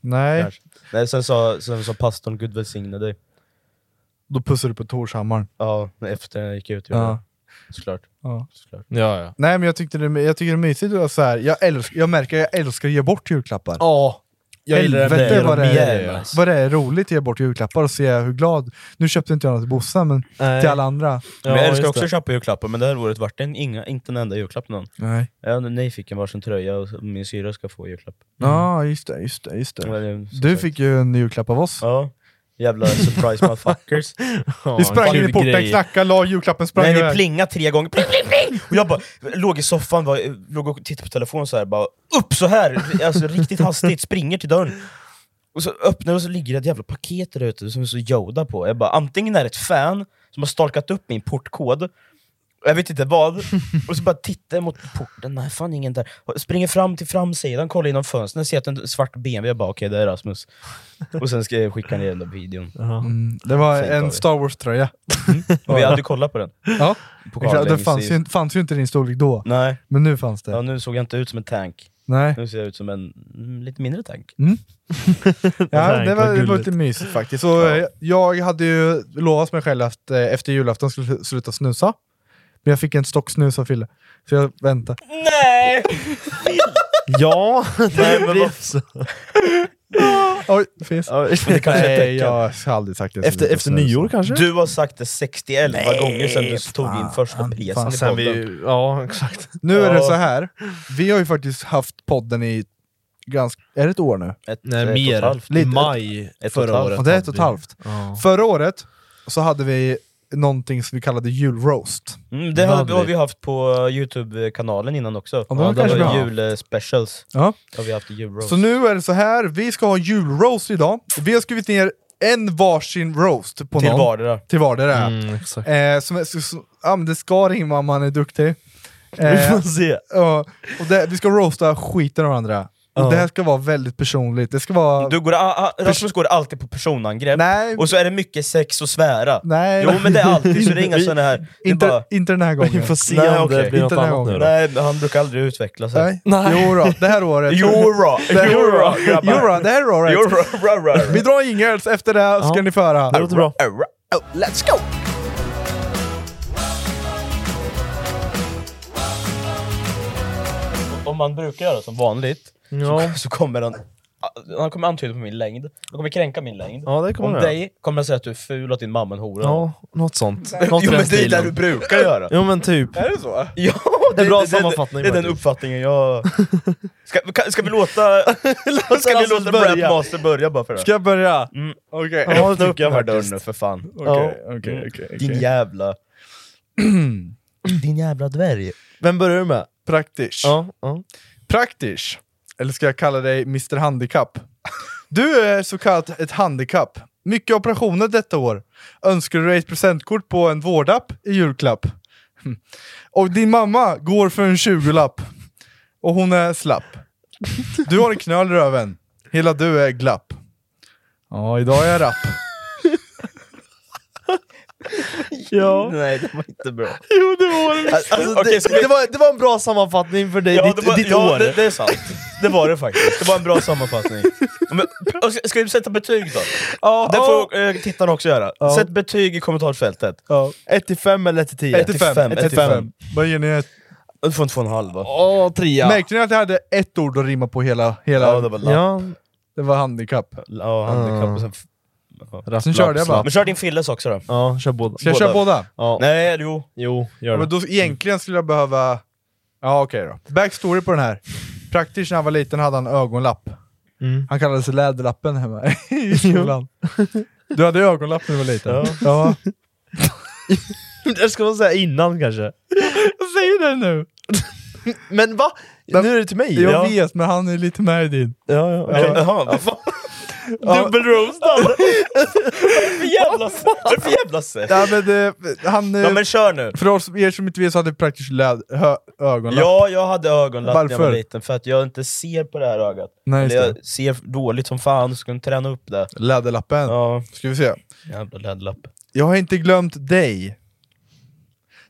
Speaker 2: Nej,
Speaker 1: Kanske. Nej, sen sa, sen sa pastorn, Gud välsigne dig.
Speaker 2: då pussar du på Torshammar.
Speaker 1: Ja, efter jag gick ut.
Speaker 2: Ja.
Speaker 1: Ja. Såklart.
Speaker 2: Ja.
Speaker 1: Såklart.
Speaker 3: Ja, ja.
Speaker 2: Nej men jag, tyckte det, jag tycker det är mysigt att så här, jag, älsk, jag märker att jag älskar att ge bort julklappar.
Speaker 3: Ja, jag gillar
Speaker 2: Helvete
Speaker 3: mer och
Speaker 2: vad det
Speaker 3: mer,
Speaker 2: är.
Speaker 3: ja.
Speaker 2: Vad det är roligt att ge bort julklappar och se hur glad... Nu köpte inte jag något till Bossa, men
Speaker 3: Nej.
Speaker 2: till alla andra.
Speaker 3: Ja,
Speaker 1: men jag älskar
Speaker 3: just
Speaker 1: också
Speaker 3: det.
Speaker 1: att köpa julklappar, men det här året vart det en, inga, inte en enda julklapp någon.
Speaker 3: Mm.
Speaker 2: Nej.
Speaker 1: Ja, nej fick en varsin tröja och min syra ska få julklapp.
Speaker 2: Ja, just det, just det, just det.
Speaker 1: Men, eh, som
Speaker 2: Du
Speaker 1: sagt.
Speaker 2: fick ju en julklapp av oss.
Speaker 1: Ja. Jävla surprise motherfuckers.
Speaker 3: Ja,
Speaker 2: Vi sprang in i
Speaker 3: kul
Speaker 2: porten,
Speaker 3: grej.
Speaker 2: knackade, la julklappen, sprang
Speaker 1: Nej, det
Speaker 2: iväg.
Speaker 1: plingade tre gånger, pling, pling, pling! Och jag bara låg i soffan, bara, eh, låg och tittade på telefonen så här, bara upp så här, alltså riktigt hastigt, springer till dörren. Och så öppnar jag och så ligger det ett jävla paket där ute som är så Yoda på. Jag bara, antingen är det ett fan som har stalkat upp min portkod, jag vet inte vad, och så bara tittar jag mot porten, nej fan ingen där. Och springer fram till framsidan, kollar genom fönstret, ser att en svart BMW, jag bara okej det är Rasmus. Och sen ska jag skicka ner den där videon.
Speaker 2: Mm, det var
Speaker 1: Fint av
Speaker 2: en
Speaker 1: dig.
Speaker 2: Star Wars-tröja.
Speaker 1: Och vi hade kollat på den.
Speaker 2: Ja.
Speaker 1: På
Speaker 2: Det
Speaker 1: Carlings
Speaker 2: fanns
Speaker 1: i-
Speaker 2: ju, fanns ju inte i din storlek då,
Speaker 1: Nej,
Speaker 2: men nu fanns det.
Speaker 1: ja, nu såg jag inte ut som en tank.
Speaker 2: Nej.
Speaker 1: Nu ser jag ut som en mm, lite mindre tank.
Speaker 2: Ja,
Speaker 3: Tack,
Speaker 2: det var,
Speaker 3: vad
Speaker 2: det var
Speaker 3: gulligt.
Speaker 2: lite mysigt faktiskt. Så eh, jag hade ju lovat mig själv att eh, efter julafton skulle jag sluta snusa. Men jag fick en stock snus av Fille. Så jag väntar.
Speaker 1: Nej!
Speaker 3: Ja,
Speaker 1: Nej,
Speaker 3: det
Speaker 1: men
Speaker 3: blir
Speaker 1: vad-
Speaker 3: så.
Speaker 2: Oj, fis.
Speaker 1: Det kanske är ett
Speaker 2: Nej,
Speaker 1: tecken.
Speaker 2: jag har aldrig sagt det.
Speaker 3: Efter, efter nyår kanske?
Speaker 1: Du har sagt det 61
Speaker 2: Nej,
Speaker 1: gånger sedan du
Speaker 2: fan,
Speaker 1: tog din första
Speaker 2: fan,
Speaker 1: pesan i
Speaker 3: Sen
Speaker 1: podden.
Speaker 3: vi, ja, exakt.
Speaker 2: Nu är
Speaker 1: Ja.
Speaker 2: det så här. vi har ju faktiskt haft podden i ganska... Är det ett år nu?
Speaker 1: Ett,
Speaker 3: Nej,
Speaker 1: ett och ett halvt.
Speaker 3: mer.
Speaker 2: Lite-
Speaker 3: Maj
Speaker 1: ett och ett
Speaker 3: förra
Speaker 1: halvt.
Speaker 3: året.
Speaker 2: Och det är ett och ett
Speaker 3: hade vi.
Speaker 2: halvt. Förra året så hade vi någonting som vi kallade julroast.
Speaker 1: Mm, det
Speaker 3: Vad
Speaker 1: har,
Speaker 3: hade
Speaker 1: vi- har
Speaker 3: vi?
Speaker 1: vi haft på Youtube-kanalen innan också.
Speaker 2: Ja, det var
Speaker 1: det
Speaker 2: kanske
Speaker 1: var
Speaker 2: bra.
Speaker 1: julspecials.
Speaker 2: Ja.
Speaker 1: Har vi haft i julroast.
Speaker 2: Så nu är det så här. vi ska ha julroast idag. Vi har skrivit ner en varsin roast på
Speaker 1: Till
Speaker 2: någon.
Speaker 1: vardera.
Speaker 2: Till vardera.
Speaker 3: Mm, exakt.
Speaker 2: Eh, som, som, som, ja, men det ska rimma om man är duktig.
Speaker 3: Vi
Speaker 2: Eh,
Speaker 3: får se.
Speaker 2: ja, och det, vi ska roasta skiten av varandra. Och
Speaker 3: Ja.
Speaker 2: Det här ska vara väldigt personligt. Det ska vara...
Speaker 1: Du går, a, a, Rasmus går alltid på personangrepp,
Speaker 2: nej,
Speaker 1: och så är det mycket sex och svära.
Speaker 2: nej,
Speaker 1: Jo men det är alltid, så det är inga
Speaker 3: Vi-
Speaker 1: sådana här... Det är
Speaker 2: inte,
Speaker 1: bara,
Speaker 2: inte den här gången.
Speaker 3: Vi får se
Speaker 1: Nej,
Speaker 3: om
Speaker 1: okej.
Speaker 3: det blir något
Speaker 2: Inte den här
Speaker 3: annat nu då.
Speaker 1: nej, men han brukar aldrig utveckla sig.
Speaker 2: Nej. Jo då, det här året.
Speaker 1: Jura! Jura,
Speaker 2: det, Jo då,
Speaker 1: grabbar!
Speaker 2: det här året.
Speaker 1: Jura, jura,
Speaker 2: Vi drar jingels, efter det ska
Speaker 3: Ja.
Speaker 2: ni föra.
Speaker 3: Det låter bra.
Speaker 1: jura. Oh, let's go! Om man brukar göra som vanligt,
Speaker 3: Ja,
Speaker 1: så kommer han... Han kommer antyda på min längd, han kommer kränka min längd.
Speaker 3: ja det kommer
Speaker 1: Om
Speaker 3: jag göra.
Speaker 1: dig kommer han säga att du är ful och att din mamma är en hora.
Speaker 3: Ja, något sånt. Något i
Speaker 1: Jo men
Speaker 3: den
Speaker 1: det är det
Speaker 3: stilen.
Speaker 1: du brukar göra!
Speaker 3: Jo men typ.
Speaker 2: Är det så?
Speaker 1: Ja,
Speaker 3: En bra
Speaker 1: det- det-
Speaker 3: sammanfattning,
Speaker 1: Det är den
Speaker 3: faktiskt.
Speaker 1: uppfattningen jag... Ska, kan- ska vi låta... ska vi
Speaker 3: Rasmus
Speaker 1: låta
Speaker 3: börja.
Speaker 1: Rapmaster alltså, börja bara för det?
Speaker 2: Ska jag börja?
Speaker 1: Mm.
Speaker 2: Okej.
Speaker 1: Ja, Öppna upp
Speaker 3: tycker jag
Speaker 1: den här dörren
Speaker 3: faktiskt.
Speaker 1: nu för fan.
Speaker 2: Okej,
Speaker 3: Ja.
Speaker 2: okej, okej,
Speaker 1: Din
Speaker 2: okej.
Speaker 1: jävla... Din jävla dvärg.
Speaker 3: Vem börjar du med?
Speaker 2: Praktisch.
Speaker 3: Ja, ja.
Speaker 2: Praktisch. Eller ska jag kalla dig Mr Handikapp? Du är så kallat ett handikapp. Mycket operationer detta år. Önskar du dig ett presentkort på en vårdapp i julklapp? Hm. Och din mamma går för en 20-lapp. Och hon är slapp. Du har en knöl i röven. Hela du är glapp. Ja, idag är jag rapp.
Speaker 3: ja.
Speaker 1: Nej, det var inte bra.
Speaker 3: Jo det var det! Alltså,
Speaker 1: Okej,
Speaker 3: det,
Speaker 1: ska vi-
Speaker 3: det, var, det var en bra sammanfattning för dig,
Speaker 1: Ja,
Speaker 3: ditt,
Speaker 1: det, var,
Speaker 3: ditt
Speaker 1: ja
Speaker 3: år.
Speaker 1: det, det är sant. Det var det faktiskt. Det var en bra sammanfattning. Men, och ska, ska vi sätta betyg då?
Speaker 3: Ja,
Speaker 1: Det får eh, tittarna också göra.
Speaker 3: Ja.
Speaker 1: Sätt betyg i kommentarsfältet.
Speaker 3: ja. 1 till 5 eller 1 till 10?
Speaker 2: 1 till 5. 1 till 5. Vad ger ni ett?
Speaker 1: Du får en två och en halv va?
Speaker 3: Åh, trea.
Speaker 2: Märkte ni att jag hade ett ord att rimma på hela... hela
Speaker 1: Ja, det var lapp.
Speaker 3: Ja,
Speaker 2: det var handikapp.
Speaker 1: Ja, handikapp och sen...
Speaker 3: rapp,
Speaker 2: Sen körde jag bara.
Speaker 1: Men kör din Filles också då.
Speaker 3: Ja, kör båda.
Speaker 2: Ska jag
Speaker 1: Båda.
Speaker 2: köra båda?
Speaker 3: Ja.
Speaker 1: Nej, jo.
Speaker 3: Jo,
Speaker 2: Ja,
Speaker 3: gör
Speaker 2: men
Speaker 3: det.
Speaker 2: då, egentligen skulle jag behöva... Ja, okej då. Backstory på den här. Praktiskt när han var liten hade han ögonlapp.
Speaker 3: Mm.
Speaker 2: Han kallades Läderlappen hemma i skolan. Du hade ögonlapp när du var liten.
Speaker 3: Ja.
Speaker 2: ja.
Speaker 3: Det ska man säga innan kanske.
Speaker 2: Jag säger det nu!
Speaker 3: Men va?
Speaker 2: Men-
Speaker 3: nu är det till mig?
Speaker 2: Jag vet, men han är lite med i din.
Speaker 3: ja, ja, ja.
Speaker 1: Jaha, vad fan.
Speaker 3: Dubbelroastad!
Speaker 1: För jävla, för jävla sätt?
Speaker 2: Ja, men, det- han, eh,
Speaker 1: Ja men kör nu!
Speaker 2: För oss, er som inte vet så hade praktiskt läd, hö, ögonlapp.
Speaker 1: Ja, jag hade ögonlapp när jag
Speaker 2: Varför?
Speaker 1: var liten, för att jag inte ser på det här ögat.
Speaker 2: Nej, just
Speaker 1: Eller
Speaker 2: det.
Speaker 1: jag ser dåligt som fan, så ska jag träna upp det.
Speaker 2: Läderlappen.
Speaker 1: Ja,
Speaker 2: Ska vi se.
Speaker 1: jävla läderlapp.
Speaker 2: Jag har inte glömt dig.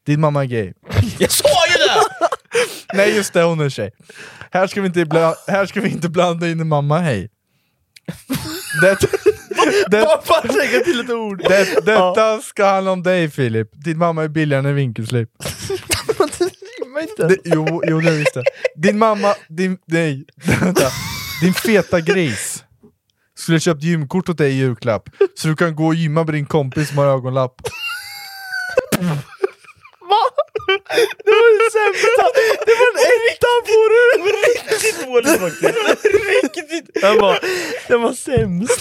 Speaker 2: Din mamma är gay.
Speaker 1: Jag sa ju det!
Speaker 2: Nej just det, hon är tjej. Här ska vi inte, bla- här ska vi inte blanda in mamma hej. Det, det,
Speaker 3: Bara lägga till ett ord!
Speaker 2: det, detta ska handla om dig Filip. Din mamma är billigare än vinkelslip.
Speaker 3: rimmar inte.
Speaker 2: Det, jo, jo, det visste jag. Din mamma, din, nej, vänta. Din feta gris skulle ha köpt gymkort åt dig i julklapp. Så du kan gå och gymma med din kompis som har ögonlapp.
Speaker 3: Det var det sämsta! Det var en etta på det!
Speaker 1: Riktigt dåligt faktiskt! Riktigt!
Speaker 3: Den var, den var sämst!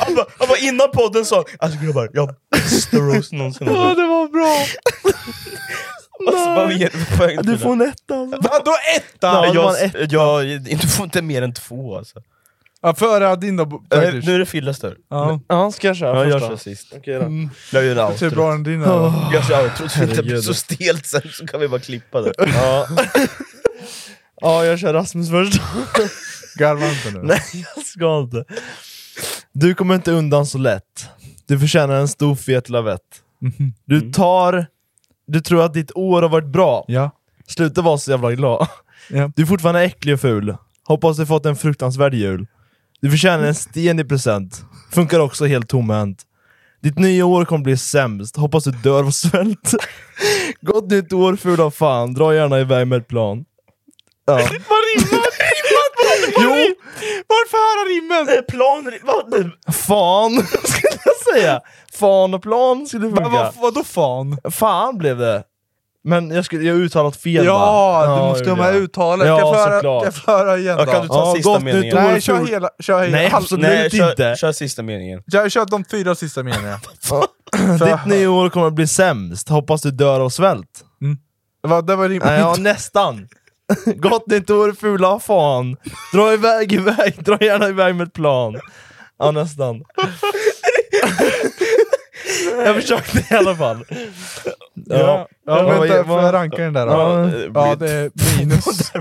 Speaker 1: Han bara, han bara innan podden sa Alltså grabbar, jag har bästa roast någonsin
Speaker 3: Ja,
Speaker 1: alltså,
Speaker 3: det var bra!
Speaker 1: vad ger du för poäng
Speaker 3: Du
Speaker 1: till
Speaker 3: får
Speaker 1: det?
Speaker 3: en etta alltså.
Speaker 2: Vadå etta?
Speaker 3: Ja, det var en
Speaker 1: jag, jag, Du får inte mer än två alltså.
Speaker 2: Ja, före din då bo-
Speaker 1: Eh,
Speaker 2: faktiskt.
Speaker 1: Nu är det Filles tur.
Speaker 2: Ja, Typ
Speaker 3: Ja, ska jag köra
Speaker 1: Ja, jag
Speaker 3: första?
Speaker 1: kör sist. Mm.
Speaker 3: Okej då.
Speaker 1: Jag gör
Speaker 2: det är
Speaker 1: outrot.
Speaker 2: bra än din då.
Speaker 3: Ah.
Speaker 1: Jag kör outrot så det inte blir
Speaker 3: Herregud.
Speaker 1: så stelt sen, så kan vi bara klippa det.
Speaker 3: Ja. ja, jag kör Rasmus först.
Speaker 2: Garva inte nu.
Speaker 3: Nej, jag ska inte. Du kommer inte undan så lätt. Du förtjänar en stor fet lavett.
Speaker 1: Mhm. Mm.
Speaker 3: Du tar... Du tror att ditt år har varit bra.
Speaker 2: Ja.
Speaker 3: Sluta vara så jävla glad.
Speaker 2: Ja.
Speaker 3: Du är fortfarande äcklig och ful. Hoppas du fått en fruktansvärd jul. Du förtjänar en sten i present. Funkar också helt tomhänt. Ditt nya år kommer bli sämst. Hoppas du dör av svält. Gott nytt år fula fan. Dra gärna iväg med ett plan. Ja. Jo, Eh,
Speaker 2: Varför har han rimmen?
Speaker 1: Plan... Vad?
Speaker 3: fan skulle jag säga. Fan och plan skulle funka.
Speaker 2: Vad, vad, vadå fan?
Speaker 3: Fan blev det. Men jag, skulle, jag har uttalat fel
Speaker 2: Ja,
Speaker 3: va?
Speaker 2: du måste ha
Speaker 3: gjorde
Speaker 2: med
Speaker 3: jag.
Speaker 2: uttalet.
Speaker 3: Ja,
Speaker 2: Ska jag föra-
Speaker 3: såklart.
Speaker 2: ska jag föra igen då?
Speaker 1: Ja, kan du ta
Speaker 3: Ja,
Speaker 1: sista
Speaker 3: gott nytt
Speaker 1: meningen?
Speaker 3: år.
Speaker 2: Nej, kör hela. Kör, hela.
Speaker 3: Nej,
Speaker 2: halv-
Speaker 3: absolut
Speaker 1: Nej, kör,
Speaker 3: inte.
Speaker 1: kör sista meningen.
Speaker 2: jag kör de fyra sista meningarna.
Speaker 3: Ditt nya år kommer bli sämst. Hoppas du dör av svält.
Speaker 2: Va, det var rimmen.
Speaker 3: Nej, ja, nästan. Gott nytt år fula fan. Dra iväg, iväg. Dra gärna iväg med ett plan. Ja, nästan. jag försökte i alla fall. Ja.
Speaker 2: Ja, ja,
Speaker 3: Vad-
Speaker 2: vänta,
Speaker 3: vad-
Speaker 2: får jag ranka den där då?
Speaker 3: Ja,
Speaker 2: Ja,
Speaker 1: eh,
Speaker 2: det är minus.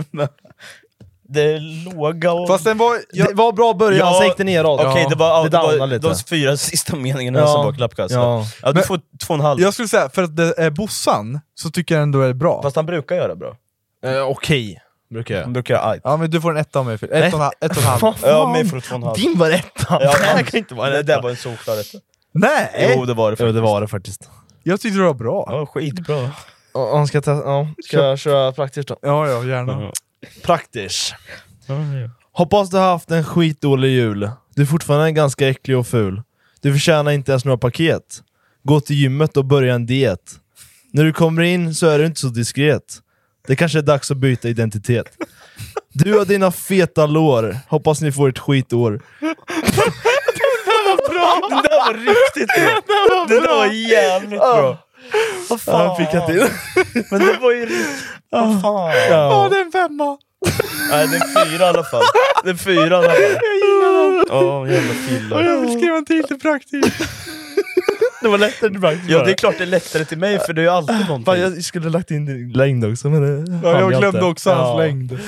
Speaker 1: Det är låga och...
Speaker 2: Fast den var...
Speaker 3: Det var bra början,
Speaker 1: Ja,
Speaker 3: sen gick det neråt.
Speaker 1: Okej, det var, det
Speaker 3: downade
Speaker 1: var
Speaker 3: lite.
Speaker 1: de fyra sista meningarna
Speaker 3: Ja.
Speaker 1: som var klappkast. Ja.
Speaker 3: Ja.
Speaker 1: du
Speaker 2: Men-
Speaker 1: får två och en halv.
Speaker 2: Jag skulle säga, för att det är Bossan, så tycker jag ändå det är bra.
Speaker 1: Fast han brukar göra bra.
Speaker 3: Eh, Okej, brukar jag.
Speaker 1: Han brukar göra argt.
Speaker 2: Ja men du får en etta av mig Filip. Ett och en halv- ett och en halv.
Speaker 3: Fan.
Speaker 1: Ja, mig får två och en halv.
Speaker 3: Din var ettan!
Speaker 1: Ja,
Speaker 3: det här kan inte vara
Speaker 1: Det
Speaker 3: en
Speaker 1: där
Speaker 3: etta.
Speaker 1: var en solklar etta.
Speaker 2: Nej!
Speaker 1: Jo, det var det
Speaker 3: Jo,
Speaker 1: faktiskt.
Speaker 3: det var det faktiskt.
Speaker 2: Jag tyckte det var bra.
Speaker 1: Ja, skitbra.
Speaker 3: Ja, han ska, testa, ja, ska jag köra praktiskt då?
Speaker 2: Ja, ja, gärna.
Speaker 1: Ja.
Speaker 3: Praktiskt. Hoppas du har haft en skitdålig jul. Du är fortfarande ganska äcklig och ful. Du förtjänar inte ens några paket. Gå till gymmet och börja en diet. När du kommer in så är du inte så diskret. Det kanske är dags att byta identitet. Du och dina feta lår. Hoppas ni får ett skitår.
Speaker 1: Det där var riktigt bra! Det där var jävligt bra! Vad
Speaker 3: Ja, fick jag till.
Speaker 1: Men det var ju riktigt... Vad fan!
Speaker 2: Ja, det är en femma!
Speaker 1: Nej, det är fyra i alla fall. Det är fyra i alla fall.
Speaker 2: Jag gillar den!
Speaker 1: Åh, jävla
Speaker 2: Och
Speaker 1: killar.
Speaker 2: jag vill skriva en till till praktiskt.
Speaker 3: Det var lättare till praktiskt.
Speaker 1: Ja, det är klart det är lättare till mig för det är ju alltid
Speaker 3: Fan,
Speaker 1: någonting.
Speaker 3: jag skulle lagt in din längd också, men det
Speaker 2: Ja,
Speaker 3: hann
Speaker 2: jag glömde
Speaker 3: inte.
Speaker 2: också
Speaker 3: Ja.
Speaker 2: hans längd.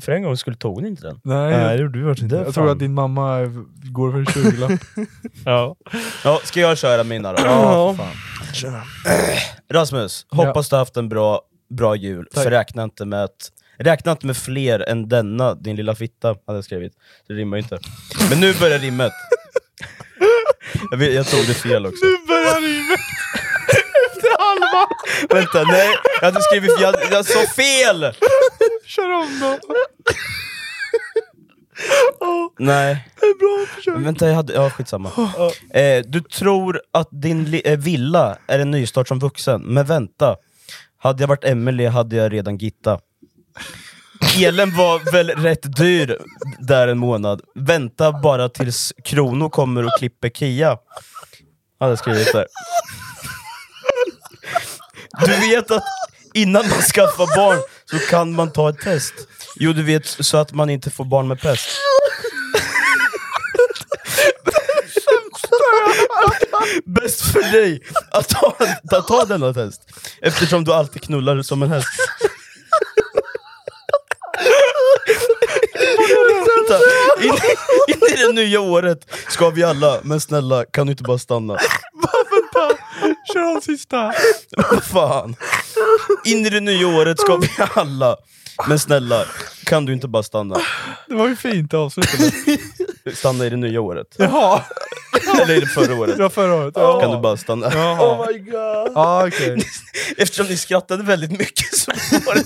Speaker 1: För en gång skulle tog ni inte den.
Speaker 3: Nej,
Speaker 2: Nej,
Speaker 3: det gjorde du verkligen inte.
Speaker 2: jag tror att din mamma eh, går för en 20
Speaker 1: Ja. ja. Ska jag köra mina då?
Speaker 3: Ja,
Speaker 1: Rasmus, hoppas du har haft en bra, bra jul,
Speaker 2: Tack.
Speaker 1: för räkna inte med att Räkna inte med fler än denna, din lilla fitta, hade jag skrivit. Så det rimmar ju inte. Men nu börjar rimmet. Jag, vet, jag tog det fel också.
Speaker 2: Nu börjar rimmet!
Speaker 1: Vänta, nej! Jag hade skrivit jag, jag sa fel!
Speaker 2: Kör om då!
Speaker 1: Nej. Vänta, jag hade... Ja, skitsamma. Eh, du tror att din li- eh, villa är en nystart som vuxen, men vänta. Hade jag varit Emily hade jag redan gitta. Elen var väl rätt dyr där en månad. Vänta bara tills Krono kommer och klipper Kia. Hade jag skrivit där. Du vet att innan man skaffar barn så kan man ta ett test. Jo, du vet så att man inte får barn med pest. Bäst för dig att ta, att ta denna test, eftersom du alltid knullar som en häst. Vänta, in, in i det nya året ska vi alla, men snälla kan du inte bara stanna?
Speaker 2: Kör om sista!
Speaker 1: Vad fan? In i det nya året ska vi alla, men snälla kan du inte bara stanna?
Speaker 2: Det var ju fint avslut. eller?
Speaker 1: Stanna i det nya året,
Speaker 2: Jaha!
Speaker 1: eller i det förra året.
Speaker 2: Det var förra året.
Speaker 1: Kan du bara stanna?
Speaker 2: Jaha.
Speaker 3: Oh my god.
Speaker 2: Ja, okej.
Speaker 1: Eftersom ni skrattade väldigt mycket så var det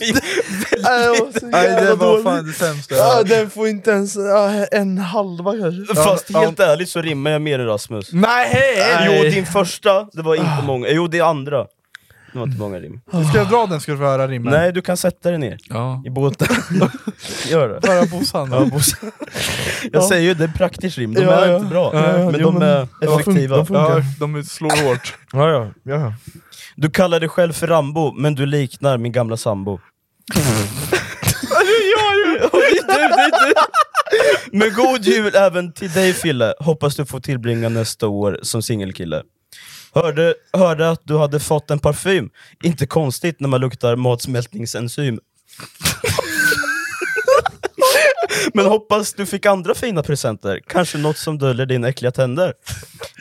Speaker 1: väldigt
Speaker 3: Nej, vad så
Speaker 2: Nej,
Speaker 3: jävla
Speaker 2: det var
Speaker 3: dåligt.
Speaker 2: fan det sämsta jag
Speaker 3: Ja,
Speaker 2: hört.
Speaker 3: den får inte ens ja, en halva kanske.
Speaker 1: Fast
Speaker 2: Ja,
Speaker 1: helt ärligt så rimmar jag mer än Rasmus.
Speaker 2: Nej!
Speaker 1: Jo, din första, det var inte många. Jo, det andra. Det var inte många rim.
Speaker 2: Ska jag dra den ska du få höra rimmen?
Speaker 1: Nej, du kan sätta dig ner
Speaker 2: Ja.
Speaker 1: i båten. Gör det.
Speaker 2: Bara Bossan.
Speaker 1: Ja, Bosse. Jag säger ju, det är praktiskt rim. De
Speaker 3: Ja,
Speaker 1: är
Speaker 3: ja.
Speaker 1: inte bra,
Speaker 3: Ja, ja.
Speaker 1: men
Speaker 3: Jo,
Speaker 1: de
Speaker 3: men
Speaker 1: är
Speaker 3: de
Speaker 1: effektiva.
Speaker 3: fun- de
Speaker 2: Ja, de slår hårt.
Speaker 3: Ja, ja, ja.
Speaker 1: Du kallar dig själv för Rambo, men du liknar min gamla sambo. Ja, det är jag ju! Det är du, det är du! Men god jul även till dig Fille, hoppas du får tillbringa nästa år som singelkille. Hörde, hörde att du hade fått en parfym, inte konstigt när man luktar matsmältningsenzym. Men hoppas du fick andra fina presenter, kanske något som döljer dina äckliga tänder.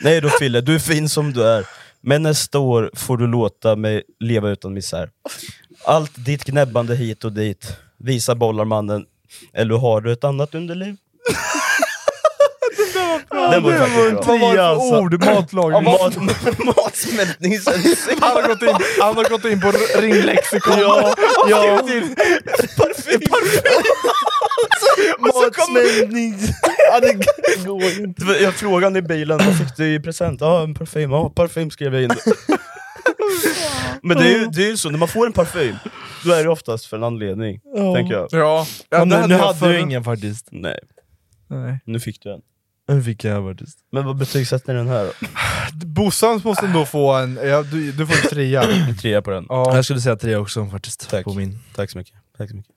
Speaker 1: Nej då Fille, du är fin som du är. Men nästa år får du låta mig leva utan misär. Allt ditt gnäbbande hit och dit. Visar bollarmannen, eller har du ett annat underliv? Den var faktiskt bra.
Speaker 2: Vad var det för
Speaker 3: alltså.
Speaker 2: ord? Matlagning?
Speaker 1: Mat, matsmältningssensor.
Speaker 2: Han har gått in, han har gått in på ringlexikon. Ja, ja. Till.
Speaker 1: Parfym! Matsmältning! ja, det går ju inte. Jag frågade han i bilen, vad fick du i present? Ja, en parfym. Ja, parfym skrev jag in. Men det är, ju, det är ju så, när man får en parfym, då är det oftast för en anledning, tänker jag.
Speaker 2: Ja, ja
Speaker 3: Men
Speaker 2: det
Speaker 3: nu, nu
Speaker 2: jag
Speaker 3: hade
Speaker 2: förr.
Speaker 3: du ingen faktiskt.
Speaker 1: Nej,
Speaker 2: Nej.
Speaker 1: nu fick du en.
Speaker 3: Nu fick jag faktiskt.
Speaker 1: Men vad betygsätter ni den här då?
Speaker 2: Bossan måste ändå få en... Ja, du, du får en trea.
Speaker 1: En trea på den.
Speaker 2: Ja.
Speaker 3: Jag skulle säga tre också faktiskt.
Speaker 1: Tack.
Speaker 3: På min.
Speaker 1: Tack så mycket. Tack så mycket.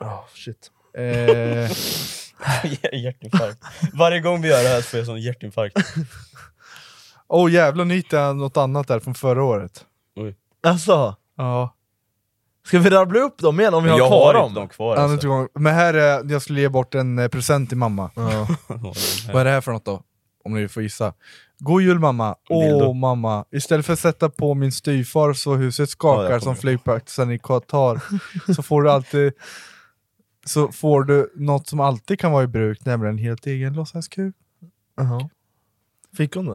Speaker 3: Oh, shit.
Speaker 2: Eh,
Speaker 1: hjärtinfarkt. Varje gång vi gör det här så får jag sån hjärtinfarkt.
Speaker 2: oh jävlar, nu hittade jag något annat där från förra året.
Speaker 3: Alltså,
Speaker 2: Ja.
Speaker 3: ska vi rabbla upp dem igen om vi har
Speaker 1: jag
Speaker 3: kvar
Speaker 1: har
Speaker 3: dem?
Speaker 1: inte dem kvar
Speaker 2: Alltså.
Speaker 1: alltså.
Speaker 2: Gång. Men här är, jag skulle ge bort en eh, present till mamma.
Speaker 3: Ja.
Speaker 2: Vad är det här för något då? Om ni får gissa. God jul mamma!
Speaker 1: Dildo.
Speaker 2: Åh mamma! Istället för att sätta på min styvfar så huset
Speaker 1: Ja,
Speaker 2: skakar
Speaker 1: jag
Speaker 2: som
Speaker 1: kommer.
Speaker 2: flygplatsen i Qatar, så får du alltid så får du något som alltid kan vara i bruk, nämligen en helt egen låtsaskuk.
Speaker 3: Jaha. Fick hon det?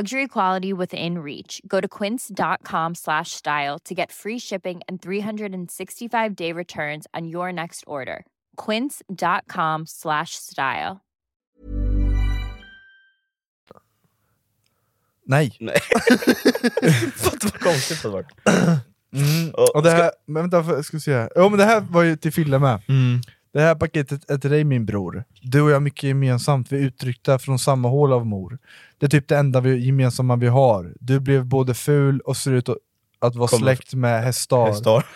Speaker 7: Luxury quality within reach. Go to quince.com slash style to get free shipping and 365 day returns on your next order. Quince.com slash style.
Speaker 2: Nej!
Speaker 1: Fattar vad konstigt det var.
Speaker 2: Mm.
Speaker 1: Och-
Speaker 2: Och det här, men vänta, för- ska vi se här. Jo men det här var ju till Fille med.
Speaker 1: Mm.
Speaker 2: Det här paketet är till dig min bror. Du och jag har mycket gemensamt, vi är uttryckta från samma hål av mor. Det är typ det enda vi, gemensamma vi har. Du blev både ful och ser ut att, att vara
Speaker 1: Kommer-
Speaker 2: släkt med hästar.
Speaker 1: Hästar.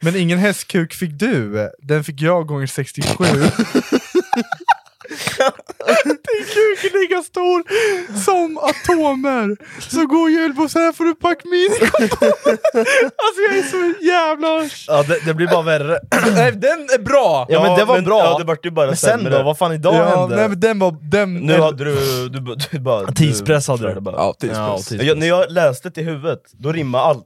Speaker 2: Men ingen hästkuk fick du, den fick jag gånger 67. Din kuk är lika stor som atomer. Så god jul Bosse, här får du pack min. Alltså jag är så jävla...
Speaker 3: Ja, det, det blir bara värre.
Speaker 2: Nej, den är bra!
Speaker 3: Ja, men det var bra.
Speaker 1: Ja, det vart ju bara
Speaker 3: Men sen
Speaker 1: sämre.
Speaker 3: då? Vad fan idag
Speaker 2: Ja,
Speaker 3: hände?
Speaker 2: nej, men den var... Den,
Speaker 1: Nu hade du... du, b- du bara,
Speaker 3: Tidspress hade du.
Speaker 1: körde bara.
Speaker 2: Ja,
Speaker 3: Ja,
Speaker 2: tidspress.
Speaker 3: tidspress.
Speaker 1: Jag, när jag läste till huvudet, då rimmade allt.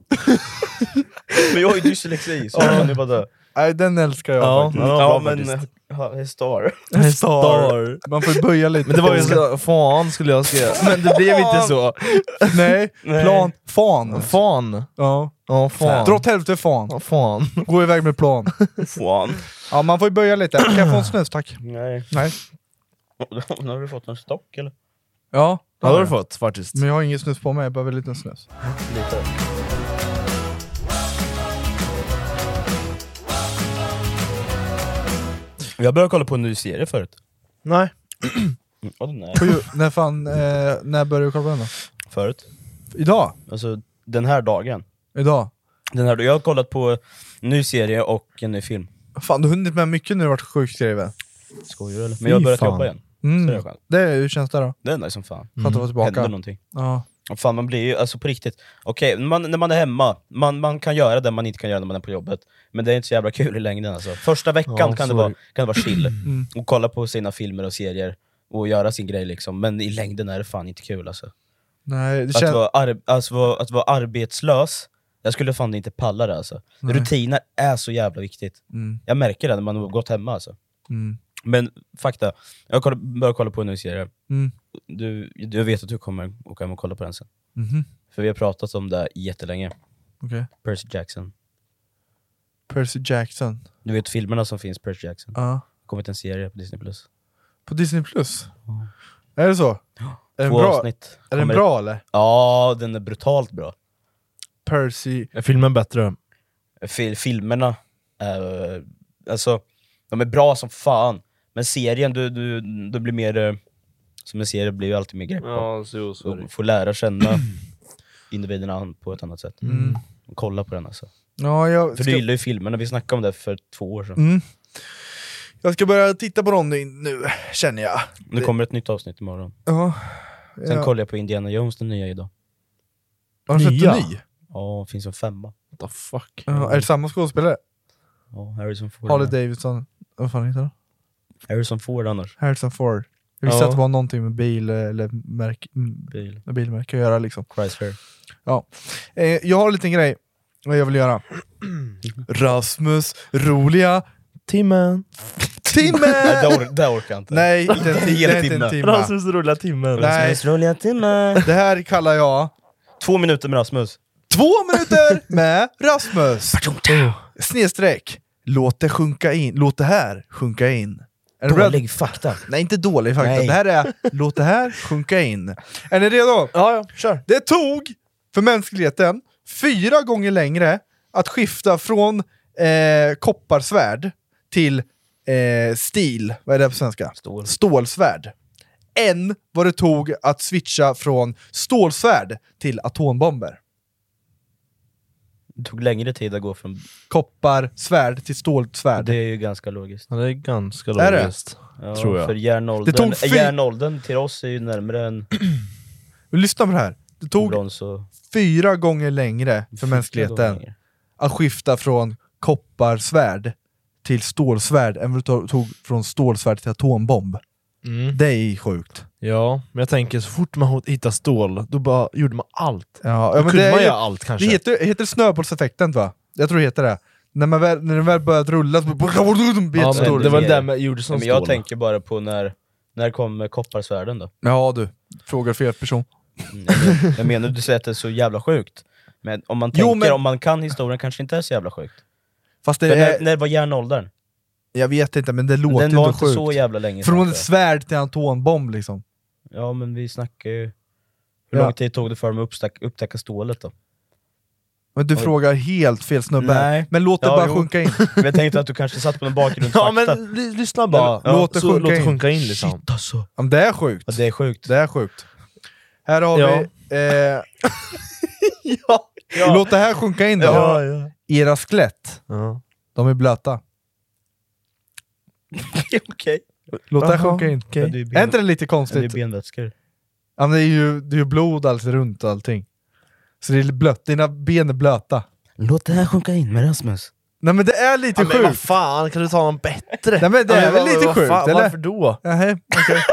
Speaker 1: men jag har ju dyslexi, så jag kan ju bara dö.
Speaker 2: Nej, den älskar jag
Speaker 3: Ja.
Speaker 2: faktiskt.
Speaker 3: det var
Speaker 1: Ja,
Speaker 3: bra
Speaker 1: men...
Speaker 3: faktiskt.
Speaker 1: ha- Hästar.
Speaker 3: Star.
Speaker 2: Man får böja lite.
Speaker 3: Men det var ju så, fan skulle jag skriva. Men det blev inte så.
Speaker 2: Nej,
Speaker 1: Nej.
Speaker 2: plan. Fan.
Speaker 3: Fan.
Speaker 2: Ja.
Speaker 3: Ja, fan.
Speaker 2: Dra åt helvete fan.
Speaker 3: Ja, fan.
Speaker 2: Gå iväg med plan.
Speaker 1: Fan.
Speaker 2: Ja, man får ju böja lite. Kan jag få en snus tack?
Speaker 3: Mm.
Speaker 1: Nej.
Speaker 2: Nej.
Speaker 1: Nu har du fått en stock eller?
Speaker 2: Ja,
Speaker 3: Ja, det har du fått faktiskt.
Speaker 2: Men jag har ingen snus på mig, jag behöver en liten snus.
Speaker 1: Lite. Jag började kolla på en ny serie förut.
Speaker 3: Nej.
Speaker 1: Vadå nej?
Speaker 2: På ju, när fan, eh, när började du kolla på den då?
Speaker 1: Förut?
Speaker 2: Idag?
Speaker 1: Alltså den här dagen.
Speaker 2: Idag?
Speaker 1: Den här, jag har kollat på en ny serie och en ny film.
Speaker 2: Fan, du har hunnit med mycket nu och varit sjukskriven.
Speaker 1: Skojar du eller? Men jag har börjat
Speaker 3: fan.
Speaker 1: jobba igen. Så det är
Speaker 2: Mm.
Speaker 1: skönt.
Speaker 2: Det, är- Mm. hur känns det då?
Speaker 1: Det är nice som fan. Mm.
Speaker 2: Skönt att vara
Speaker 1: Händer
Speaker 2: tillbaka?
Speaker 1: någonting.
Speaker 2: Ja.
Speaker 1: Och Fan man blir ju, alltså på riktigt. Okej, man, när man är hemma, man, man kan göra det man inte kan göra när man är på jobbet. Men det är inte så jävla kul i längden alltså. Första veckan
Speaker 3: Ja,
Speaker 1: kan,
Speaker 3: så
Speaker 1: det
Speaker 3: är Mm.
Speaker 1: vara,
Speaker 3: det.
Speaker 1: kan det vara chill. Och kolla på sina filmer och serier och göra sin grej liksom. Men i längden är det fan inte kul alltså.
Speaker 2: Nej, det
Speaker 1: Att
Speaker 2: känns...
Speaker 1: vara, ar- alltså, vara- att vara arbetslös, jag skulle fan inte palla det alltså.
Speaker 2: Nej.
Speaker 1: Rutiner är så jävla viktigt.
Speaker 2: Mm.
Speaker 1: Jag märker det när man har gått hemma alltså.
Speaker 2: Mm.
Speaker 1: Men fakta, jag koll- börjar kolla på en ny serie.
Speaker 2: Mm.
Speaker 1: Du, jag vet att du kommer åka hem och kolla på den sen.
Speaker 2: Mhm.
Speaker 1: För vi har pratat om det jättelänge.
Speaker 2: Okej.
Speaker 1: Percy Jackson.
Speaker 2: Percy Jackson.
Speaker 1: Du vet filmerna som finns, Percy Jackson.
Speaker 2: Ja.
Speaker 1: Det har kommit en serie på Disney+. Plus.
Speaker 2: På Disney Plus? Är det så? Är den
Speaker 1: Två
Speaker 2: bra,
Speaker 1: avsnitt.
Speaker 2: är den
Speaker 1: Kommer-
Speaker 2: bra eller?
Speaker 1: Ja, den är brutalt bra.
Speaker 2: Percy...
Speaker 3: Är filmen bättre?
Speaker 1: Fil- filmerna, eh, alltså, de är bra som fan. Men serien, du, du, du blir mer... eh, Som en serie blir ju alltid mer grepp på.
Speaker 3: så,
Speaker 1: Du får lära känna individerna an- på ett annat sätt.
Speaker 2: Mm.
Speaker 1: Kolla på den alltså.
Speaker 2: Ja, jag
Speaker 1: För
Speaker 2: ska...
Speaker 1: du gillar ju filmerna, vi snackade om det för två år sedan.
Speaker 2: Mm. Jag ska börja titta på dem nu, nu känner jag.
Speaker 1: Nu kommer ett nytt avsnitt imorgon.
Speaker 2: Ja.
Speaker 1: Sen
Speaker 2: ja.
Speaker 1: kollar jag på Indiana Jones, den nya idag.
Speaker 2: Har du sett
Speaker 3: Nya?
Speaker 2: en ny?
Speaker 1: Ja, finns en femma.
Speaker 3: What the fuck?
Speaker 2: Ja, är det samma skådespelare?
Speaker 1: Ja, Harrison Ford.
Speaker 2: Harley Davidson, vad fan heter han?
Speaker 1: Harrison Ford annars.
Speaker 2: Harrison Ford. Jag visste
Speaker 1: Ja.
Speaker 2: att det var någonting med bil eh, eller märk, m-
Speaker 1: Bil.
Speaker 2: bilmärke att göra liksom.
Speaker 1: Chrysler.
Speaker 2: Ja. Eh, jag har en liten grej, vad jag vill göra. Rasmus roliga
Speaker 3: Timmen.
Speaker 1: Nej,
Speaker 2: timme!
Speaker 1: det, or- det orkar jag inte.
Speaker 2: Nej, inte en timme.
Speaker 1: Hela
Speaker 2: Det är inte en
Speaker 1: timmen.
Speaker 2: timme.
Speaker 3: rullar timmen.
Speaker 2: Nej,
Speaker 1: Roliga timme.
Speaker 2: det här kallar jag
Speaker 1: Två minuter med Rasmus.
Speaker 2: Två minuter med Rasmus! Oh. Snedstreck. Låt det sjunka in. Låt det här sjunka in. Är ni beredda?
Speaker 1: fakta.
Speaker 2: Nej, inte dålig fakta.
Speaker 1: Nej.
Speaker 2: Det här är Låt det här sjunka in. Är ni redo?
Speaker 3: Ja, ja, kör.
Speaker 2: Det tog för mänskligheten fyra gånger längre att skifta från eh, kopparsvärd till eh, stil, vad är det på svenska?
Speaker 1: Stål.
Speaker 2: Stålsvärd. Än vad det tog att switcha från stålsvärd till atombomber.
Speaker 1: Det tog längre tid att gå från...
Speaker 2: Kopparsvärd till stålsvärd.
Speaker 1: Det är ju ganska logiskt.
Speaker 3: Ja, det är ganska
Speaker 2: Är det?
Speaker 3: logiskt.
Speaker 1: Ja,
Speaker 3: Tror jag.
Speaker 1: För
Speaker 2: Det
Speaker 1: järnåldern,
Speaker 2: tog fy-
Speaker 1: järnåldern till oss är ju närmare än
Speaker 2: Lyssna på det här. Det tog
Speaker 1: brons och...
Speaker 2: fyra gånger längre för mänskligheten att skifta från kopparsvärd till stålsvärd än vad det to- tog från stålsvärd till atombomb.
Speaker 3: Mm.
Speaker 2: Det är sjukt.
Speaker 3: Ja, men jag tänker så fort man hittar stål, då bara gjorde man allt.
Speaker 2: Ja,
Speaker 3: Då
Speaker 2: ja, men
Speaker 3: kunde
Speaker 2: det,
Speaker 3: man
Speaker 2: är-
Speaker 3: göra allt
Speaker 2: det
Speaker 3: kanske.
Speaker 2: heter, heter snöbollseffekten va? Jag tror det heter det. När, man väl, när den väl börjat rulla så blir
Speaker 3: ja,
Speaker 2: det
Speaker 1: men
Speaker 2: stål.
Speaker 3: det var
Speaker 1: mer.
Speaker 3: det man gjorde som
Speaker 1: Men jag
Speaker 3: stål.
Speaker 1: tänker bara på när, när kommer kopparsvärden då?
Speaker 2: Ja du, frågar fel person.
Speaker 1: Mm, Jag men- jag menar, du säger att det är så jävla sjukt. Men Eh, om man
Speaker 2: Jo,
Speaker 1: tänker,
Speaker 2: men-
Speaker 1: om man kan historien kanske inte är så jävla sjukt.
Speaker 2: Fast
Speaker 1: För
Speaker 2: det
Speaker 1: när,
Speaker 2: är,
Speaker 1: när var järnåldern?
Speaker 2: jag vet inte, men det låter
Speaker 1: Den var
Speaker 2: ändå
Speaker 1: inte så
Speaker 2: sjukt.
Speaker 1: jävla länge
Speaker 2: Från
Speaker 1: sedan,
Speaker 2: ett svärd till en atombomb liksom.
Speaker 1: tror jag. Ja men vi snackar ju... Hur
Speaker 2: Ja.
Speaker 1: lång tid tog det för dem att uppstack- upptäcka stålet då?
Speaker 2: Men du
Speaker 1: Oj.
Speaker 2: frågar helt fel snubbe.
Speaker 1: Nej.
Speaker 2: Men låt det
Speaker 1: Ja,
Speaker 2: bara
Speaker 1: jo.
Speaker 2: sjunka in.
Speaker 1: Men jag tänkte att du kanske satt på någon bakgrundsfakta.
Speaker 3: Ja men ly- lyssna bara,
Speaker 2: men- låt det
Speaker 3: så
Speaker 2: sjunka
Speaker 3: låt det
Speaker 2: in.
Speaker 3: sjunka in liksom.
Speaker 1: alltså.
Speaker 2: Ja, men det är sjukt.
Speaker 1: Ja, det är sjukt.
Speaker 2: Det är sjukt. Här har
Speaker 3: Ja.
Speaker 2: vi... Eh, Låt det här sjunka in då.
Speaker 3: ja.
Speaker 2: Era skelett,
Speaker 3: ja.
Speaker 2: de är blöta.
Speaker 1: Okej.
Speaker 2: Låt det här
Speaker 3: Jaha,
Speaker 2: sjunka in.
Speaker 3: okej.
Speaker 1: Ja, det är ben-
Speaker 2: Är inte det lite
Speaker 1: Ja, Det är
Speaker 2: konstigt?
Speaker 1: benvätskor.
Speaker 2: Ja, men det är ju det är ju blod allt runt och allting. Så det är blött. Dina ben är blöta.
Speaker 1: Låt det här sjunka in med Rasmus.
Speaker 2: Nej men det är lite
Speaker 3: Ja, men vad
Speaker 2: sjukt.
Speaker 3: fan, kan du ta någon bättre?
Speaker 2: Nej, men det är
Speaker 3: Ja,
Speaker 2: väl
Speaker 3: vad-
Speaker 2: lite
Speaker 3: vad
Speaker 2: sjukt,
Speaker 3: fan,
Speaker 2: eller?
Speaker 3: Varför då?
Speaker 2: Nähä, okej.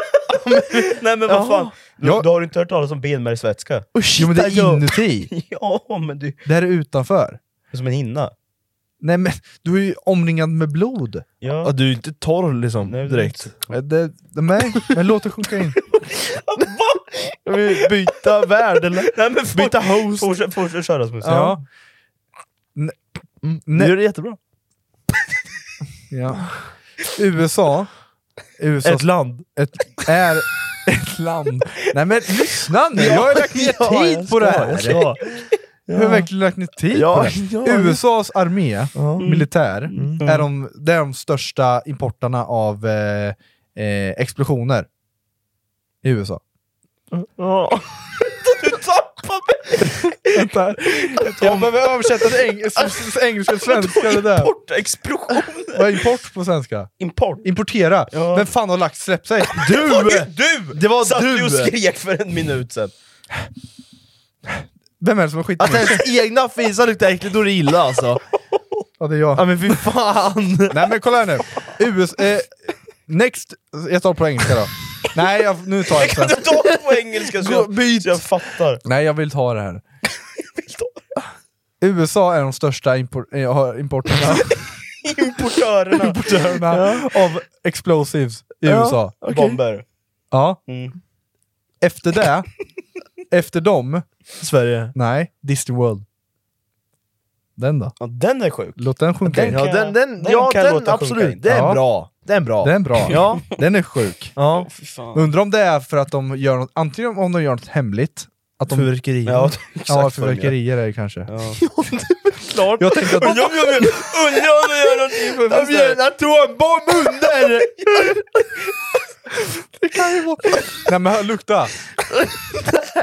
Speaker 1: Nej men
Speaker 3: Jaha.
Speaker 1: vad fan, du,
Speaker 2: Ja.
Speaker 1: du har inte hört talas om benmärgsvätska?
Speaker 2: Jo men det
Speaker 3: Ursäkta,
Speaker 2: är inuti.
Speaker 1: Ja men du...
Speaker 2: Det här är utanför.
Speaker 1: Det är Som en hinna.
Speaker 2: Nej men du är ju omringad med blod.
Speaker 3: Ja,
Speaker 1: Ja.
Speaker 3: du är inte torr liksom,
Speaker 1: Nej, det är
Speaker 3: direkt.
Speaker 2: Eh, Det, nej, men låt det sjunka in.
Speaker 3: Ska vi byta värld eller?
Speaker 1: Nej, men for,
Speaker 3: Byta host?
Speaker 1: fortsätt, fortsätt köra Rasmus.
Speaker 2: Ja.
Speaker 3: Mm,
Speaker 2: Nej.
Speaker 3: Nu är det jättebra.
Speaker 2: Ja. USA, USA
Speaker 3: Ett land.
Speaker 2: ett, är ett land. Nej men lyssna nu, jag har lagt ner
Speaker 3: Ja,
Speaker 2: tid
Speaker 3: jag
Speaker 2: på det
Speaker 3: ska,
Speaker 2: här.
Speaker 3: jag ska.
Speaker 2: Jag har verkligen lagt ner tid på
Speaker 3: Ja,
Speaker 2: det.
Speaker 3: ja.
Speaker 2: USAs armé, militär,
Speaker 3: Mm.
Speaker 2: är de, det är de största importarna av eh, eh, explosioner i USA.
Speaker 3: Ja.
Speaker 2: Vänta. Jag behöver översätta till eng- s- s- engelska till svenska det där.
Speaker 1: Import, explosion!
Speaker 2: Vad är import på svenska?
Speaker 1: Import!
Speaker 2: Importera!
Speaker 1: Ja.
Speaker 2: Vem fan har lagt släppt sig?
Speaker 1: Det var ju du!
Speaker 3: Det var
Speaker 1: Satt
Speaker 3: du.
Speaker 1: och skrek för en minut sen.
Speaker 2: Vem är det som har skit
Speaker 1: Alltså,
Speaker 3: Att
Speaker 2: i mig?
Speaker 3: ens egna fisar luktar äckligt, då är det illa alltså.
Speaker 2: Ja, det är jag.
Speaker 3: Ja men fy fan!
Speaker 2: Nej men kolla här nu. US, eh, next, jag tar på engelska då. Nej, jag, nu tar jag på
Speaker 1: Kan du
Speaker 2: svenska.
Speaker 1: ta det på engelska så jag,
Speaker 3: byt!
Speaker 1: så jag fattar?
Speaker 2: Nej, jag vill ta det här. USA är de största impor- eh, har importerna,
Speaker 1: Importörerna!
Speaker 2: importörerna av explosives i USA.
Speaker 1: Bomber.
Speaker 2: Ja.
Speaker 1: Mm.
Speaker 2: Efter det, efter dem,
Speaker 3: Sverige.
Speaker 2: nej, Disney World. Den då?
Speaker 1: Ja, den är sjuk.
Speaker 2: Låt den sjunka
Speaker 1: Den
Speaker 2: in.
Speaker 3: Ja
Speaker 1: kan-
Speaker 3: den, den,
Speaker 1: den
Speaker 3: ja,
Speaker 1: kan
Speaker 3: den,
Speaker 1: låta sjunka
Speaker 3: absolut,
Speaker 1: in.
Speaker 3: den är
Speaker 2: Ja.
Speaker 3: bra. Den är bra.
Speaker 2: Den är bra.
Speaker 3: Ja.
Speaker 2: Den är sjuk.
Speaker 3: ja.
Speaker 1: Fy fan.
Speaker 2: Undrar om det är för att de gör något, antingen om de gör något hemligt, att de...
Speaker 3: Fyrverkerier.
Speaker 1: Ja, det är exakt
Speaker 2: ja,
Speaker 1: vad de gör.
Speaker 2: fyrverkerier är det kanske.
Speaker 1: Ja.
Speaker 3: klart.
Speaker 2: Jag tänkte att...
Speaker 1: Undrar om jag gör- undrar om jag gör någonting för
Speaker 3: Jag bjöd en atombomb under!
Speaker 2: Nej men hör, lukta!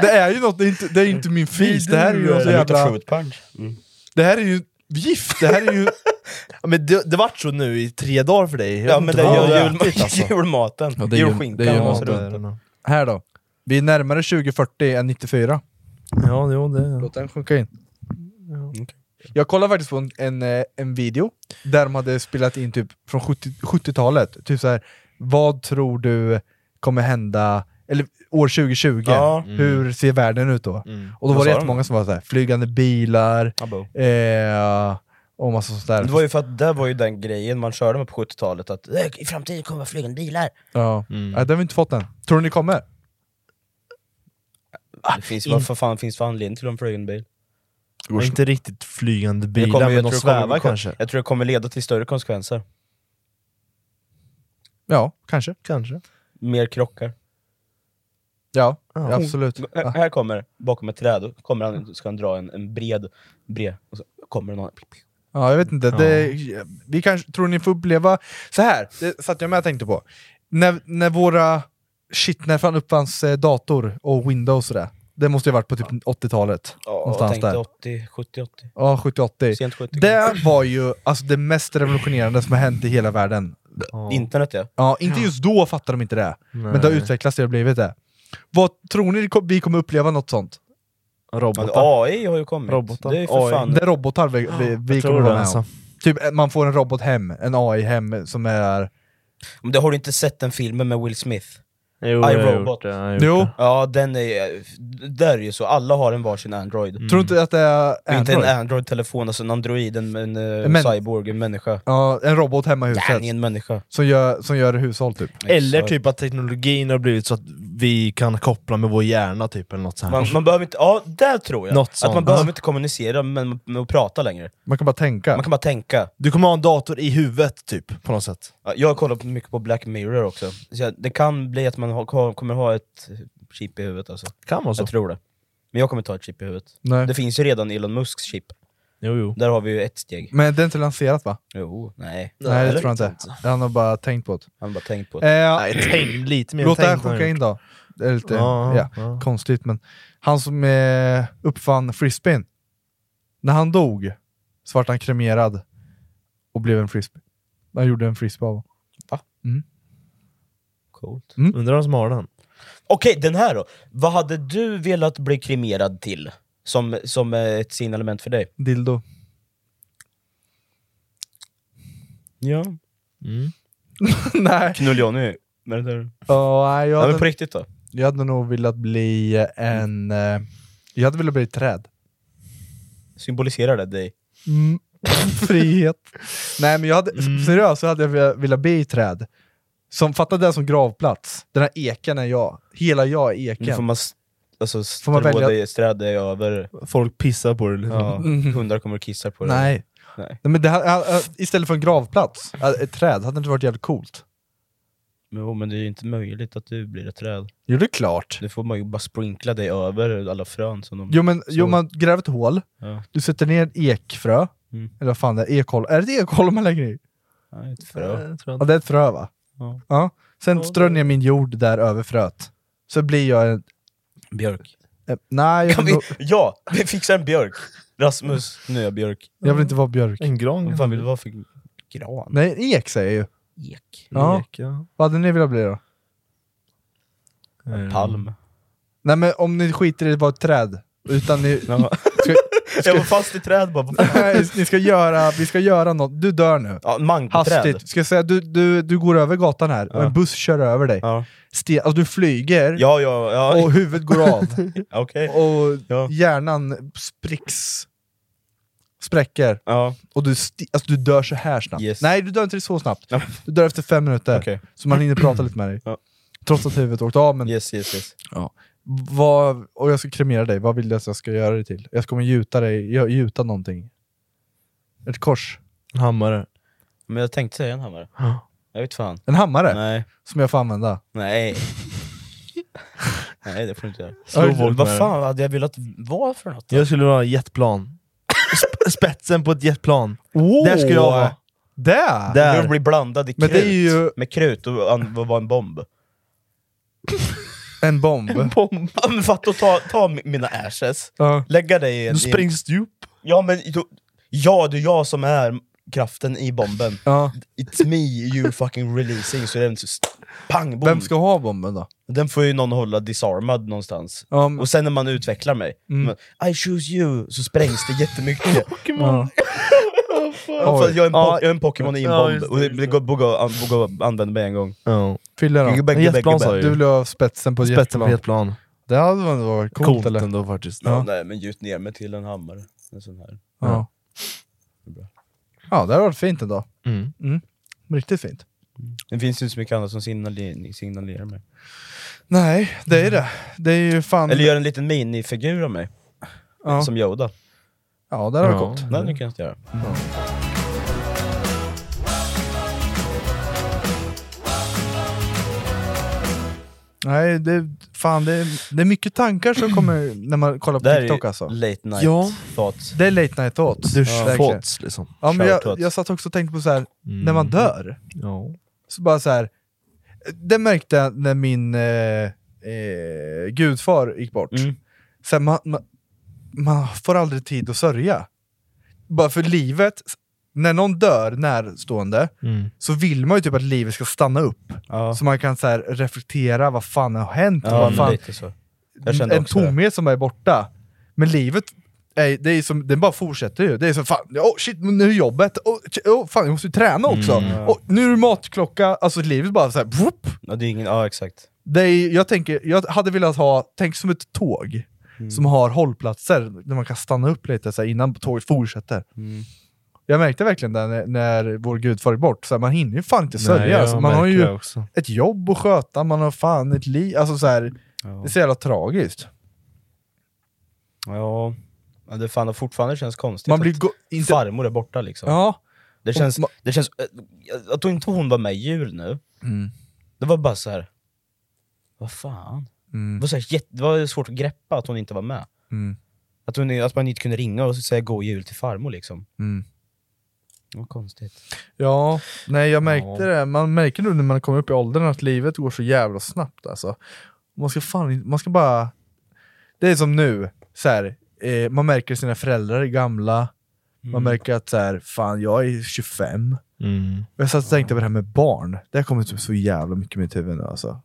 Speaker 2: Det är ju något, det är inte, det är inte min fis, det här är ju något
Speaker 1: Det luktar
Speaker 2: jävla...
Speaker 1: fruit punch. Mm.
Speaker 2: Det här är ju gift, det här är ju...
Speaker 3: Men det, det vart så nu i tre dagar för dig. Jag
Speaker 1: Ja
Speaker 3: vet
Speaker 1: men
Speaker 3: inte
Speaker 1: det
Speaker 3: vad
Speaker 1: är
Speaker 3: det
Speaker 1: jul, julmaten,
Speaker 2: Ja, det är jul-
Speaker 1: julskinkan.
Speaker 2: det är
Speaker 1: och
Speaker 2: julmat,
Speaker 1: så
Speaker 3: Ja,
Speaker 1: runt.
Speaker 3: det är det nog.
Speaker 2: Här då. Vi är närmare 2040 än 94.
Speaker 3: Ja, jo, det...
Speaker 2: Låt den sjunka in. Jag kollade faktiskt på en, en, eh, en video där de hade spelat in typ från 70, 70-talet. Typ så här, vad tror du kommer hända eller år 2020?
Speaker 1: Ja.
Speaker 2: Hur ser världen ut då?
Speaker 3: Mm.
Speaker 2: Och då
Speaker 1: Vad
Speaker 2: var det
Speaker 1: sa de?
Speaker 2: jättemånga som var så här, flygande bilar
Speaker 1: Abo.
Speaker 2: eh, och massa sånt där.
Speaker 1: Det var ju för att det var ju den grejen man körde med på 70-talet, att "Eh, i framtiden kommer det vara flygande bilar.
Speaker 2: ja.
Speaker 3: Mm.
Speaker 2: Nej, det har vi inte fått än. Tror du ni kommer?
Speaker 1: Det finns, vad för fan finns för anledning till en flygande bil?
Speaker 3: Inte riktigt flygande
Speaker 1: Det
Speaker 3: bilar,
Speaker 1: kommer-
Speaker 3: men
Speaker 1: jag
Speaker 3: de
Speaker 1: tror det kommer-
Speaker 3: svävar kanske.
Speaker 1: Jag tror det kommer leda till större konsekvenser.
Speaker 2: Ja, kanske.
Speaker 3: Kanske.
Speaker 1: Mer krockar.
Speaker 2: Ja,
Speaker 3: Ja.
Speaker 2: absolut.
Speaker 1: Här,
Speaker 2: Ja.
Speaker 1: här kommer, bakom ett träd, och kommer han, ska han dra en, en bred, bred, och så kommer det någon...
Speaker 2: Ja, jag vet inte. Det, vi kanske, tror ni får uppleva... Så här, det satt jag med och tänkte på. När, när våra... Shit, när fan uppfanns eh, dator och Windows och det? Det måste ju ha varit på typ 80-talet.
Speaker 1: Ja,
Speaker 2: någonstans
Speaker 1: tänkte
Speaker 2: där.
Speaker 1: 80, 70, 80.
Speaker 2: Ja, 70-80.
Speaker 1: Sent 70.
Speaker 2: Det var ju alltså, det mest revolutionerande som har hänt i hela världen.
Speaker 3: Ja.
Speaker 1: Internet ja.
Speaker 2: Ja, inte just då fattar de inte det, men det har
Speaker 3: Nej.
Speaker 2: utvecklats till det har blivit det. Vad tror ni kom- vi kommer uppleva något sånt?
Speaker 3: Robotar.
Speaker 1: Ja, AI har ju kommit.
Speaker 3: Robotar.
Speaker 1: Det är ju för
Speaker 3: AI.
Speaker 1: fan...
Speaker 2: Det är robotar vi, vi, vi
Speaker 3: Jag
Speaker 2: kommer
Speaker 3: tror
Speaker 2: vara
Speaker 3: det
Speaker 2: med
Speaker 3: alltså.
Speaker 2: om. Typ eh, man får en robot hem, en AI hem som är...
Speaker 1: Men det har du inte sett den filmen med Will Smith?
Speaker 3: Jo, jag har
Speaker 1: iRobot.
Speaker 3: gjort det, jag har gjort
Speaker 2: Jo,
Speaker 3: det.
Speaker 1: Ja, den är Där är ju så, alla har en varsin Android.
Speaker 2: Mm. tror du inte att det är
Speaker 1: Det är Inte
Speaker 2: Android?
Speaker 1: en Android-telefon, alltså en Android, en, en, eh,
Speaker 2: Men-
Speaker 1: cyborg, en människa.
Speaker 2: Ja, en robot hemma i
Speaker 1: Den är
Speaker 2: huset
Speaker 1: en människa.
Speaker 2: som gör, som gör hushåll typ.
Speaker 3: Eller typ att teknologin har blivit så att vi kan koppla med vår hjärna typ, eller något sånt.
Speaker 1: Man, man behöver inte, ja där tror jag!
Speaker 3: Något
Speaker 1: att man
Speaker 3: sånt.
Speaker 1: behöver inte kommunicera men, men att prata längre.
Speaker 2: Man kan bara tänka.
Speaker 1: Man kan bara tänka.
Speaker 3: Du kommer ha en dator i huvudet typ, på något sätt.
Speaker 1: Ja, Jag har kollat mycket på Black Mirror också. Så jag- det kan bli att man har, har- kommer ha ett chip i huvudet alltså.
Speaker 3: Kan vara så.
Speaker 1: Jag tror det. Men jag kommer ta ett chip i huvudet.
Speaker 2: Nej.
Speaker 1: Det finns ju redan Elon Musks chip.
Speaker 3: Jo, jo.
Speaker 1: Där har vi ju ett steg.
Speaker 2: Men det är inte lanserat va?
Speaker 1: Jo, nej.
Speaker 2: Nej, det
Speaker 1: Eller?
Speaker 2: tror jag inte. Han har bara tänkt på det.
Speaker 1: Han har bara tänkt på det.
Speaker 2: Eh,
Speaker 3: Nej, tänk lite mer.
Speaker 2: låt det här
Speaker 3: tänk på
Speaker 2: sjunka in då. Det är lite
Speaker 3: Ja,
Speaker 2: ja,
Speaker 3: ja.
Speaker 2: konstigt men... Han som eh, uppfann frisbeen. När han dog så vart han kremerad och blev en frisbee. Han gjorde en frisbee av
Speaker 1: Coolt.
Speaker 3: Mm. Undrar vem som har den?
Speaker 1: Mm. Okej, den här då. Vad hade du velat bli kremerad till? Som, som eh, ett signalement för dig?
Speaker 2: dildo.
Speaker 1: Ja.
Speaker 2: Nej.
Speaker 1: Knull Johnny. Men det där-
Speaker 2: Oh, nej, jag,
Speaker 1: Ja, men på
Speaker 2: hade,
Speaker 1: riktigt då?
Speaker 2: jag hade nog velat bli en... Eh, jag hade velat bli ett träd.
Speaker 1: Symboliserar det dig?
Speaker 2: Mm. Frihet. Nej men jag hade,
Speaker 1: Mm.
Speaker 2: seriöst så hade jag velat- velat bli i träd. Som, fatta det som gravplats. Den här eken är jag. Hela jag är
Speaker 1: Nu får
Speaker 2: eken.
Speaker 1: man, s- alltså,
Speaker 2: Får man
Speaker 1: strå
Speaker 2: välja-
Speaker 1: dig, strä dig över,
Speaker 3: Folk pissar på det liksom.
Speaker 1: ja,
Speaker 2: Mm.
Speaker 1: hundar kommer och kissar på dig.
Speaker 2: Nej.
Speaker 1: Nej.
Speaker 2: Nej. men det, här- äh, äh, istället för en gravplats, äh, ett träd, hade det inte varit jävligt coolt?
Speaker 1: Men, jo, men det är ju inte möjligt att du blir ett träd.
Speaker 2: Jo det är klart.
Speaker 1: Nu får man ju bara sprinkla dig över alla frön som de...
Speaker 2: Jo men jo, man gräver ett hål,
Speaker 1: Ja.
Speaker 2: du sätter ner ett ekfrö,
Speaker 1: Mm.
Speaker 2: eller vad fan det är, ekholm. Är det ett ekholm man lägger i?
Speaker 1: Nej, ett frö.
Speaker 3: Det tror jag
Speaker 2: Ja
Speaker 3: inte.
Speaker 2: det är ett frö va?
Speaker 1: Ja.
Speaker 2: Sen strör ner min jord där över fröet. Så blir jag en...
Speaker 1: Björk.
Speaker 2: Äh, nej, jag
Speaker 1: Kan
Speaker 2: vill,
Speaker 1: vi,
Speaker 2: nog-
Speaker 1: ja, vi fixar en björk! Rasmus, nu är jag björk.
Speaker 2: jag vill inte vara björk.
Speaker 3: En gran
Speaker 1: Vad fan vill du vara för gran?
Speaker 2: Nej, en ek säger jag ju.
Speaker 1: Ek.
Speaker 2: Ja.
Speaker 3: Ek, ja.
Speaker 2: Vad hade ni velat bli då?
Speaker 3: Eh,
Speaker 1: Palm.
Speaker 2: Nej men om ni skiter i att vara ett träd, utan ni...
Speaker 1: Ja.
Speaker 2: Ska,
Speaker 1: Jag var fast i träd bara. vad fan?
Speaker 2: nej, ni ska göra, vi ska göra något, du dör nu.
Speaker 1: Ja, mankoträd.
Speaker 2: Hastigt, ska jag säga, du, du, du går över gatan här och
Speaker 1: Ja.
Speaker 2: en buss kör över dig.
Speaker 1: Ja,
Speaker 2: Ste- alltså, du flyger
Speaker 1: ja, ja. ja.
Speaker 2: och huvudet går av.
Speaker 1: Okej.
Speaker 2: och
Speaker 1: Ja.
Speaker 2: hjärnan spricks. Spräcker.
Speaker 1: Ja,
Speaker 2: Och du, sti- alltså, du dör så här snabbt.
Speaker 1: Yes.
Speaker 2: Nej, du dör inte så snabbt.
Speaker 1: Ja.
Speaker 2: Du dör efter fem minuter.
Speaker 1: okej.
Speaker 2: Så man hinner prata lite med dig.
Speaker 1: Ja.
Speaker 2: Trots att huvudet åkte av. Men
Speaker 1: Yes, yes, yes.
Speaker 2: vad, och jag ska kremera dig, vad vill du att jag ska göra dig till? Jag kommer gjuta dig, gö- gjuta någonting. Ett kors.
Speaker 3: En hammare.
Speaker 1: Men jag tänkte säga en hammare. Jag vet fan.
Speaker 2: En hammare
Speaker 1: Nej.
Speaker 2: som jag får använda.
Speaker 1: Nej. Nej, det får du inte göra.
Speaker 3: Slå folk med
Speaker 1: Vad
Speaker 3: den.
Speaker 1: fan hade jag velat vara för något?
Speaker 3: Jag skulle vara jetplan. Sp- spetsen på ett jetplan.
Speaker 2: Oh,
Speaker 3: Där skulle jag vara.
Speaker 2: Där!
Speaker 1: Där.
Speaker 3: Där.
Speaker 1: Du blir blandad i
Speaker 2: Men
Speaker 1: krut.
Speaker 2: det är ju-
Speaker 1: Med krut och an- vad var en bomb.
Speaker 2: En bomb.
Speaker 3: Bomb.
Speaker 1: Ja, men fatta att ta, ta mi- mina ashes,
Speaker 2: Ja.
Speaker 1: lägga dig i en...
Speaker 3: Du
Speaker 1: i en-
Speaker 3: sprängs djup.
Speaker 1: Ja men, du, ja det är jag som är kraften i bomben.
Speaker 2: Ja.
Speaker 1: It's me you fucking releasing, så den så st- pang, bom.
Speaker 2: Vem ska ha bomben då?
Speaker 1: Den får ju någon hålla disarmad någonstans.
Speaker 2: Ja, men-
Speaker 1: Och sen när man utvecklar mig,
Speaker 2: Mm.
Speaker 1: men, I choose you, så sprängs det jättemycket.
Speaker 2: Ja.
Speaker 1: Ja, för jag är en, po-
Speaker 3: Ja.
Speaker 1: jag är en Pokémon i en
Speaker 3: Ja,
Speaker 1: bomb,
Speaker 3: just det,
Speaker 1: och det,
Speaker 3: just
Speaker 1: det går Bogo an- Bogo använde mig en gång.
Speaker 3: Ja.
Speaker 2: Fylla då.
Speaker 1: Gubbe, gubbe,
Speaker 3: Jetplan
Speaker 1: gubbe.
Speaker 3: sa jag
Speaker 2: Du
Speaker 3: ju.
Speaker 2: vill ha spetsen på ett
Speaker 3: Spetsen på
Speaker 2: jetplan.
Speaker 3: jetplan.
Speaker 2: Det hade väl varit coolt,
Speaker 3: Coolt
Speaker 2: eller?
Speaker 3: ändå faktiskt.
Speaker 1: Ja,
Speaker 2: Ja.
Speaker 1: Nej men gjut ner mig till en hammare. En sån här.
Speaker 2: Ja. ja, det hade varit fint ändå.
Speaker 3: Mm.
Speaker 2: Riktigt fint.
Speaker 1: Det finns ju inte så mycket annat som signalerar, signalerar mig.
Speaker 2: Nej, det är det. Det är ju fan...
Speaker 1: Eller gör en liten minifigur av mig,
Speaker 2: ja.
Speaker 1: som Yoda.
Speaker 2: ja, det hade varit
Speaker 3: Ja.
Speaker 2: coolt.
Speaker 1: Nej, det kan jag inte göra.
Speaker 2: Nej, det, fan, det, är, det är mycket tankar som kommer när man kollar
Speaker 1: Det
Speaker 2: på
Speaker 1: här
Speaker 2: TikTok
Speaker 1: är
Speaker 2: alltså.
Speaker 1: ju late night
Speaker 3: Ja.
Speaker 1: thoughts.
Speaker 2: Det är late night thoughts.
Speaker 3: Du
Speaker 2: Ja, verkligen.
Speaker 3: fått liksom.
Speaker 2: Ja, men jag,
Speaker 1: Shoutout.
Speaker 2: jag satt också och tänkte på så här. när
Speaker 1: Mm.
Speaker 2: man dör,
Speaker 3: Ja.
Speaker 2: så bara så här. Det märkte jag när min eh, eh, gudfar gick bort.
Speaker 1: Mm.
Speaker 2: Så här, man, man, man får aldrig tid att sörja. Bara för livet, när någon dör närstående,
Speaker 3: Mm.
Speaker 2: så vill man ju typ att livet ska stanna upp.
Speaker 1: Ja.
Speaker 2: Så man kan så här, reflektera, vad fan har hänt?
Speaker 1: Ja,
Speaker 2: vad
Speaker 1: men
Speaker 2: fan,
Speaker 1: lite så. Jag kände
Speaker 2: en
Speaker 1: också det.
Speaker 2: tomhet som är borta. Men livet, är, det är som, den bara fortsätter ju. Det är som fan, oh shit, men nu är jobbet, oh, ch- oh, fan jag måste ju träna också.
Speaker 3: Mm.
Speaker 2: Och nu är det matklocka, alltså livet bara såhär...
Speaker 1: Ja, det är ingen, ja exakt.
Speaker 2: Det är, jag, tänker, jag hade velat ha, tänk som ett tåg
Speaker 3: Mm.
Speaker 2: som har hållplatser där man kan stanna upp lite så här, innan tåget fortsätter.
Speaker 3: Mm.
Speaker 2: Jag märkte verkligen det när, när vår gud far bort, så här, man hinner ju fan inte
Speaker 3: Nej,
Speaker 2: sörja.
Speaker 3: jag
Speaker 2: Alltså, man har
Speaker 3: märker det
Speaker 2: ju
Speaker 3: också.
Speaker 2: ett jobb att sköta, man har fan ett liv. Alltså, så här, Det är så jävla tragiskt.
Speaker 1: Ja. Men det fan, fortfarande känns konstigt
Speaker 2: Man blir
Speaker 1: Typ att
Speaker 2: go- inte...
Speaker 1: farmor är borta liksom.
Speaker 2: Ja.
Speaker 1: Det känns,
Speaker 2: ma-
Speaker 1: det känns, eh, jag- jag tror inte hon var med i jul nu.
Speaker 2: Mm.
Speaker 1: Det var bara så här. vad fan? Det, var så här, jätte- det var svårt att greppa att hon inte var med.
Speaker 2: Mm.
Speaker 1: Att, hon, att man inte kunde ringa och säga god jul till farmor liksom.
Speaker 2: Mm.
Speaker 1: Det var konstigt.
Speaker 2: Ja, nej jag märkte
Speaker 3: Ja.
Speaker 2: det. Man märker nu när man kommer upp i åldern att livet går så jävla snabbt alltså. Man ska fan in- man ska bara... Det är som nu, så här, eh, man märker sina föräldrar är gamla, man märker att så här, fan jag är 25.
Speaker 3: Mm.
Speaker 2: Och jag satt och tänkte på det här med barn, det har kommit upp så jävla mycket i mitt huvud nu alltså.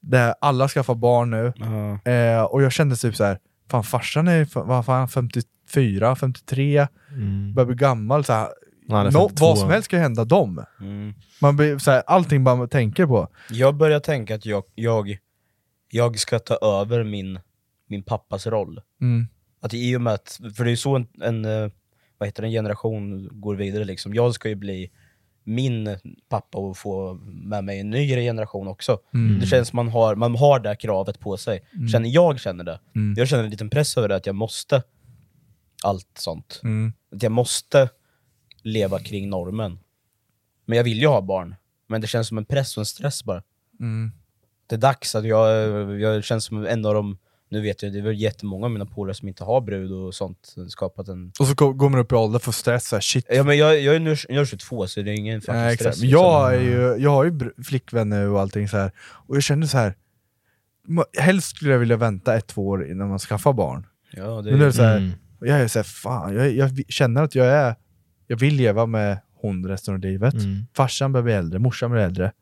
Speaker 2: Det här, alla skaffar barn nu,
Speaker 1: Ja.
Speaker 2: eh, och jag kände typ så här, fan farsan är fa- vad fan, 54, 53,
Speaker 3: Mm.
Speaker 2: börjar bli gammal. Så här,
Speaker 3: Nej, det är
Speaker 2: nå-
Speaker 3: 52.
Speaker 2: vad som helst kan ju hända dem.
Speaker 1: Mm.
Speaker 2: Man blir så här, allting bara man tänker på.
Speaker 1: Jag börjar tänka att jag, jag, jag ska ta över min, min pappas roll.
Speaker 2: Mm.
Speaker 1: Att i och med att, för det är ju så en, en, eh, vad heter det, en generation går vidare liksom. Jag ska ju bli min pappa och få med mig en ny generation också.
Speaker 2: Mm.
Speaker 1: Det känns man har, man har det här kravet på sig. Känner jag känner det.
Speaker 2: Mm.
Speaker 1: Jag känner en liten press över det, att jag måste allt sånt.
Speaker 2: Mm.
Speaker 1: Att jag måste leva kring normen. Men jag vill ju ha barn. Men det känns som en press och en stress bara.
Speaker 2: Mm.
Speaker 1: Det är dags att jag, jag känns som en av de, nu vet jag, det är väl jättemånga av mina polare som inte har brud och sånt, skapat en...
Speaker 2: Och så ko- går man upp i ålder, får stress, så här, shit.
Speaker 1: Ja men jag, jag är nu jag är 22 så det är ingen fucking
Speaker 2: Nej,
Speaker 1: stress. liksom.
Speaker 2: exakt. Men jag, är ju, jag har ju br- flickvän nu och allting så här. och jag känner så här. ma- helst skulle jag vilja vänta ett, två år innan man skaffar barn.
Speaker 1: Ja, det
Speaker 2: Men nu är det
Speaker 1: är,
Speaker 2: så här,
Speaker 3: Mm.
Speaker 2: jag är så här, fan, jag, jag vi- känner att jag är, jag vill leva med hon resten av livet.
Speaker 3: Mm.
Speaker 2: Farsan börjar bli äldre, morsan blir äldre.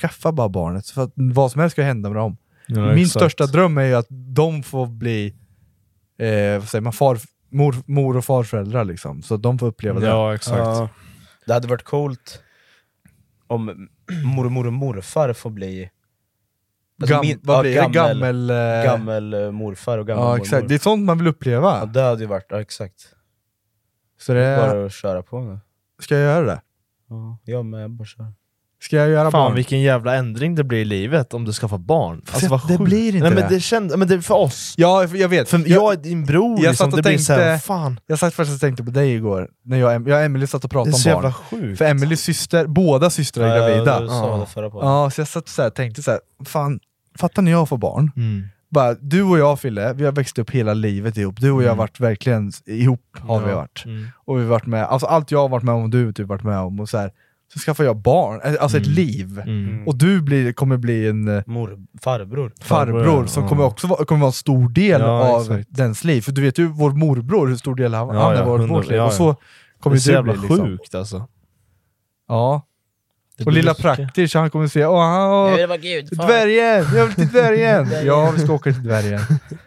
Speaker 2: Skaffa bara barnet, för att vad som helst ska hända med dem.
Speaker 3: Ja,
Speaker 2: Min
Speaker 3: exakt.
Speaker 2: största dröm är ju att de får bli eh, vad säger man, far, mor, mor och farföräldrar, liksom. så att de får uppleva det.
Speaker 3: Mm. Ja, exakt.
Speaker 1: Ja. det hade varit coolt om mormor och morfar får bli... alltså
Speaker 2: Gam,
Speaker 1: min-
Speaker 2: vad
Speaker 1: ja,
Speaker 2: blir det? Gammel... eh,
Speaker 1: Gammel eh, morfar och gammel
Speaker 2: ja,
Speaker 1: mormor.
Speaker 2: exakt. Det är sånt man vill uppleva.
Speaker 1: Ja, det hade ju varit, ja, exakt.
Speaker 2: så det,
Speaker 1: Bara att köra på nu.
Speaker 2: ska jag göra det?
Speaker 1: Ja, jag med, bara köra.
Speaker 2: Ska jag göra
Speaker 3: Fan
Speaker 2: barn?
Speaker 3: vilken jävla ändring det blir i livet om du skaffar barn. Alltså,
Speaker 2: Fast det
Speaker 3: sjukt.
Speaker 2: blir inte
Speaker 3: Nej, men
Speaker 2: det.
Speaker 3: det. Känd, men det är för oss.
Speaker 2: Ja, jag vet.
Speaker 3: För jag,
Speaker 2: jag,
Speaker 3: är din bror,
Speaker 2: jag
Speaker 3: liksom.
Speaker 2: satt och
Speaker 3: det blir såhär,
Speaker 2: tänkte-
Speaker 3: fan.
Speaker 2: jag satt faktiskt och tänkte på dig igår, när jag, och- jag och Emily satt och
Speaker 3: Det är
Speaker 2: pratade
Speaker 3: så
Speaker 2: om barn.
Speaker 3: jävla sjukt.
Speaker 2: För Emilys syster, båda systrar är
Speaker 1: Ja,
Speaker 2: gravida.
Speaker 1: du
Speaker 2: Ja,
Speaker 1: sa det förra podden.
Speaker 2: så jag satt och tänkte så här, fan, fattar ni jag får barn?
Speaker 3: Mm.
Speaker 2: bara, du och jag Fille, vi har växt upp hela livet ihop. Du och jag har varit verkligen s- ihop, har vi
Speaker 3: Mm. Ja.
Speaker 2: varit.
Speaker 3: Mm.
Speaker 2: Och vi har varit med, alltså allt jag har varit med om, du har typ varit med om. Och så, här, så skaffar jag barn, eh, alltså ett liv.
Speaker 3: Mm.
Speaker 2: Och du blir, kommer bli en eh,
Speaker 1: Mor, farbror.
Speaker 2: farbror,
Speaker 3: Farbror, ja.
Speaker 2: som kommer också vara, kommer vara en stor del
Speaker 3: Ja,
Speaker 2: av
Speaker 3: exakt.
Speaker 2: dens liv. För du vet ju vår morbror, hur stor del han,
Speaker 3: Ja,
Speaker 2: han är
Speaker 3: ja,
Speaker 2: i vårt,
Speaker 3: hundra-
Speaker 2: vårt liv.
Speaker 3: ja,
Speaker 2: Och så Kommer
Speaker 3: det är så
Speaker 2: du
Speaker 3: jävla
Speaker 2: bli, liksom?
Speaker 3: sjukt alltså.
Speaker 2: Ja.
Speaker 3: Det
Speaker 2: Och
Speaker 3: blir
Speaker 2: lilla
Speaker 3: så-
Speaker 2: praktisch, han kommer säga Åh, han,
Speaker 8: vara gud.
Speaker 2: Dvärgen! Jag vill till dvärgen! ja, vi ska åka till dvärgen.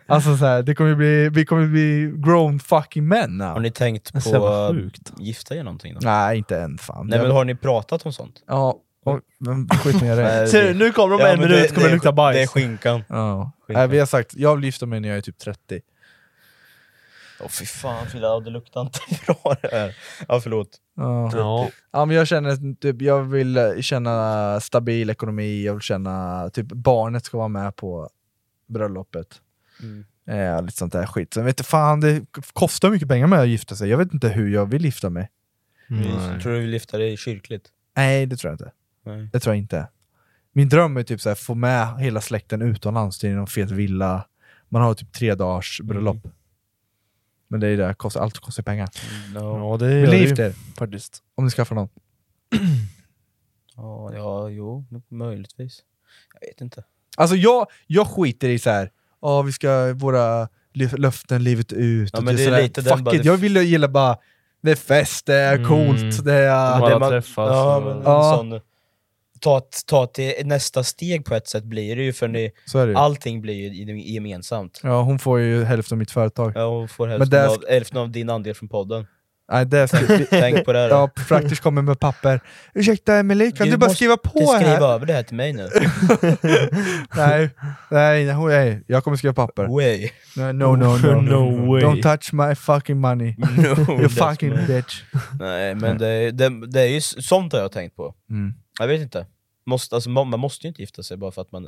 Speaker 2: Alltså så här, det kommer ju bli, vi kommer bli grown fucking men
Speaker 1: Har
Speaker 2: now.
Speaker 1: ni tänkt
Speaker 3: Det är så
Speaker 1: på
Speaker 3: jävla
Speaker 1: att
Speaker 3: sjukt.
Speaker 1: gifta er någonting? Då?
Speaker 2: Nej, inte än fan.
Speaker 1: Nej men har ni pratat om sånt?
Speaker 2: Ja, och, men skit ner i det.
Speaker 3: Ser du, nu kommer de
Speaker 1: Ja,
Speaker 3: en
Speaker 1: men
Speaker 3: minut, kommer
Speaker 1: är-
Speaker 3: det lukta bajs.
Speaker 1: Det är skinkan.
Speaker 2: Ja.
Speaker 1: Skinkan.
Speaker 2: Nej, vi har sagt, jag vill gifta mig när jag är typ 30.
Speaker 1: Åh fy fan Frida, det luktar inte bra det här. Ja förlåt.
Speaker 2: Ja.
Speaker 3: Ja.
Speaker 2: Ja, men jag känner att typ, jag vill eh, känna stabil ekonomi, jag vill känna typ barnet ska vara med på bröllopet. Eh, lite sånt där skit. Sen vet du, fan, det kostar mycket pengar med att gifta sig. Jag vet inte hur jag vill gifta mig.
Speaker 3: Nej.
Speaker 1: Tror du vi lyfter det kyrkligt?
Speaker 2: Nej, det tror jag inte.
Speaker 1: Nej.
Speaker 2: Det tror jag inte. Min dröm är typ så här, få med hela släkten utomlands till någon fet villa. Man har typ tre dagars bröllop. Men det är det, kostar, allt kostar pengar.
Speaker 1: No.
Speaker 3: Ja, det är
Speaker 2: Vill ni
Speaker 3: det
Speaker 2: gifta
Speaker 3: ju
Speaker 2: er?
Speaker 3: faktiskt.
Speaker 2: Om ni skaffar någon.
Speaker 1: Ja, ja, jo, möjligtvis. Jag vet inte.
Speaker 2: Alltså jag, jag skiter i så här. Ja, vi ska våra lö- löften livet ut.
Speaker 1: Ja,
Speaker 2: och
Speaker 1: men det är
Speaker 2: sådär.
Speaker 1: lite den
Speaker 2: Fuck
Speaker 1: bara-
Speaker 2: it. Jag vill ju gilla bara, det är fest, det är
Speaker 3: Mm.
Speaker 2: coolt, det är...
Speaker 3: Bara
Speaker 1: Det man-
Speaker 3: träffas
Speaker 1: Ja,
Speaker 3: och-
Speaker 1: men en
Speaker 2: Ja.
Speaker 1: sån... Ta, ta till nästa steg på ett sätt blir det ju för ni,
Speaker 2: Så är det ju.
Speaker 1: allting blir ju gemensamt.
Speaker 2: Ja, hon får ju hälften av mitt företag.
Speaker 1: Ja, och får
Speaker 2: Men
Speaker 1: hälften,
Speaker 2: där
Speaker 1: av, hälften av din andel från podden.
Speaker 2: Nej, det ska, vi-
Speaker 1: Tänk på det här.
Speaker 2: Ja, praktiskt kommer med papper. Ursäkta Emelie, kan
Speaker 1: Du
Speaker 2: du, bara
Speaker 1: måste
Speaker 2: skriva på
Speaker 1: Du skriver
Speaker 2: här?
Speaker 1: över det här till mig nu.
Speaker 2: Nej, nej, nej, nej, jag kommer skriva papper.
Speaker 1: Way.
Speaker 2: No, no, no. no.
Speaker 3: No way.
Speaker 2: Don't touch my fucking money.
Speaker 1: No,
Speaker 2: You
Speaker 1: that's
Speaker 2: fucking
Speaker 1: me.
Speaker 2: bitch.
Speaker 1: Nej, men det, det, det är ju s- sånt har jag tänkt på.
Speaker 2: Mm.
Speaker 1: Jag vet inte. Måste, alltså, man, man måste ju inte gifta sig bara för att man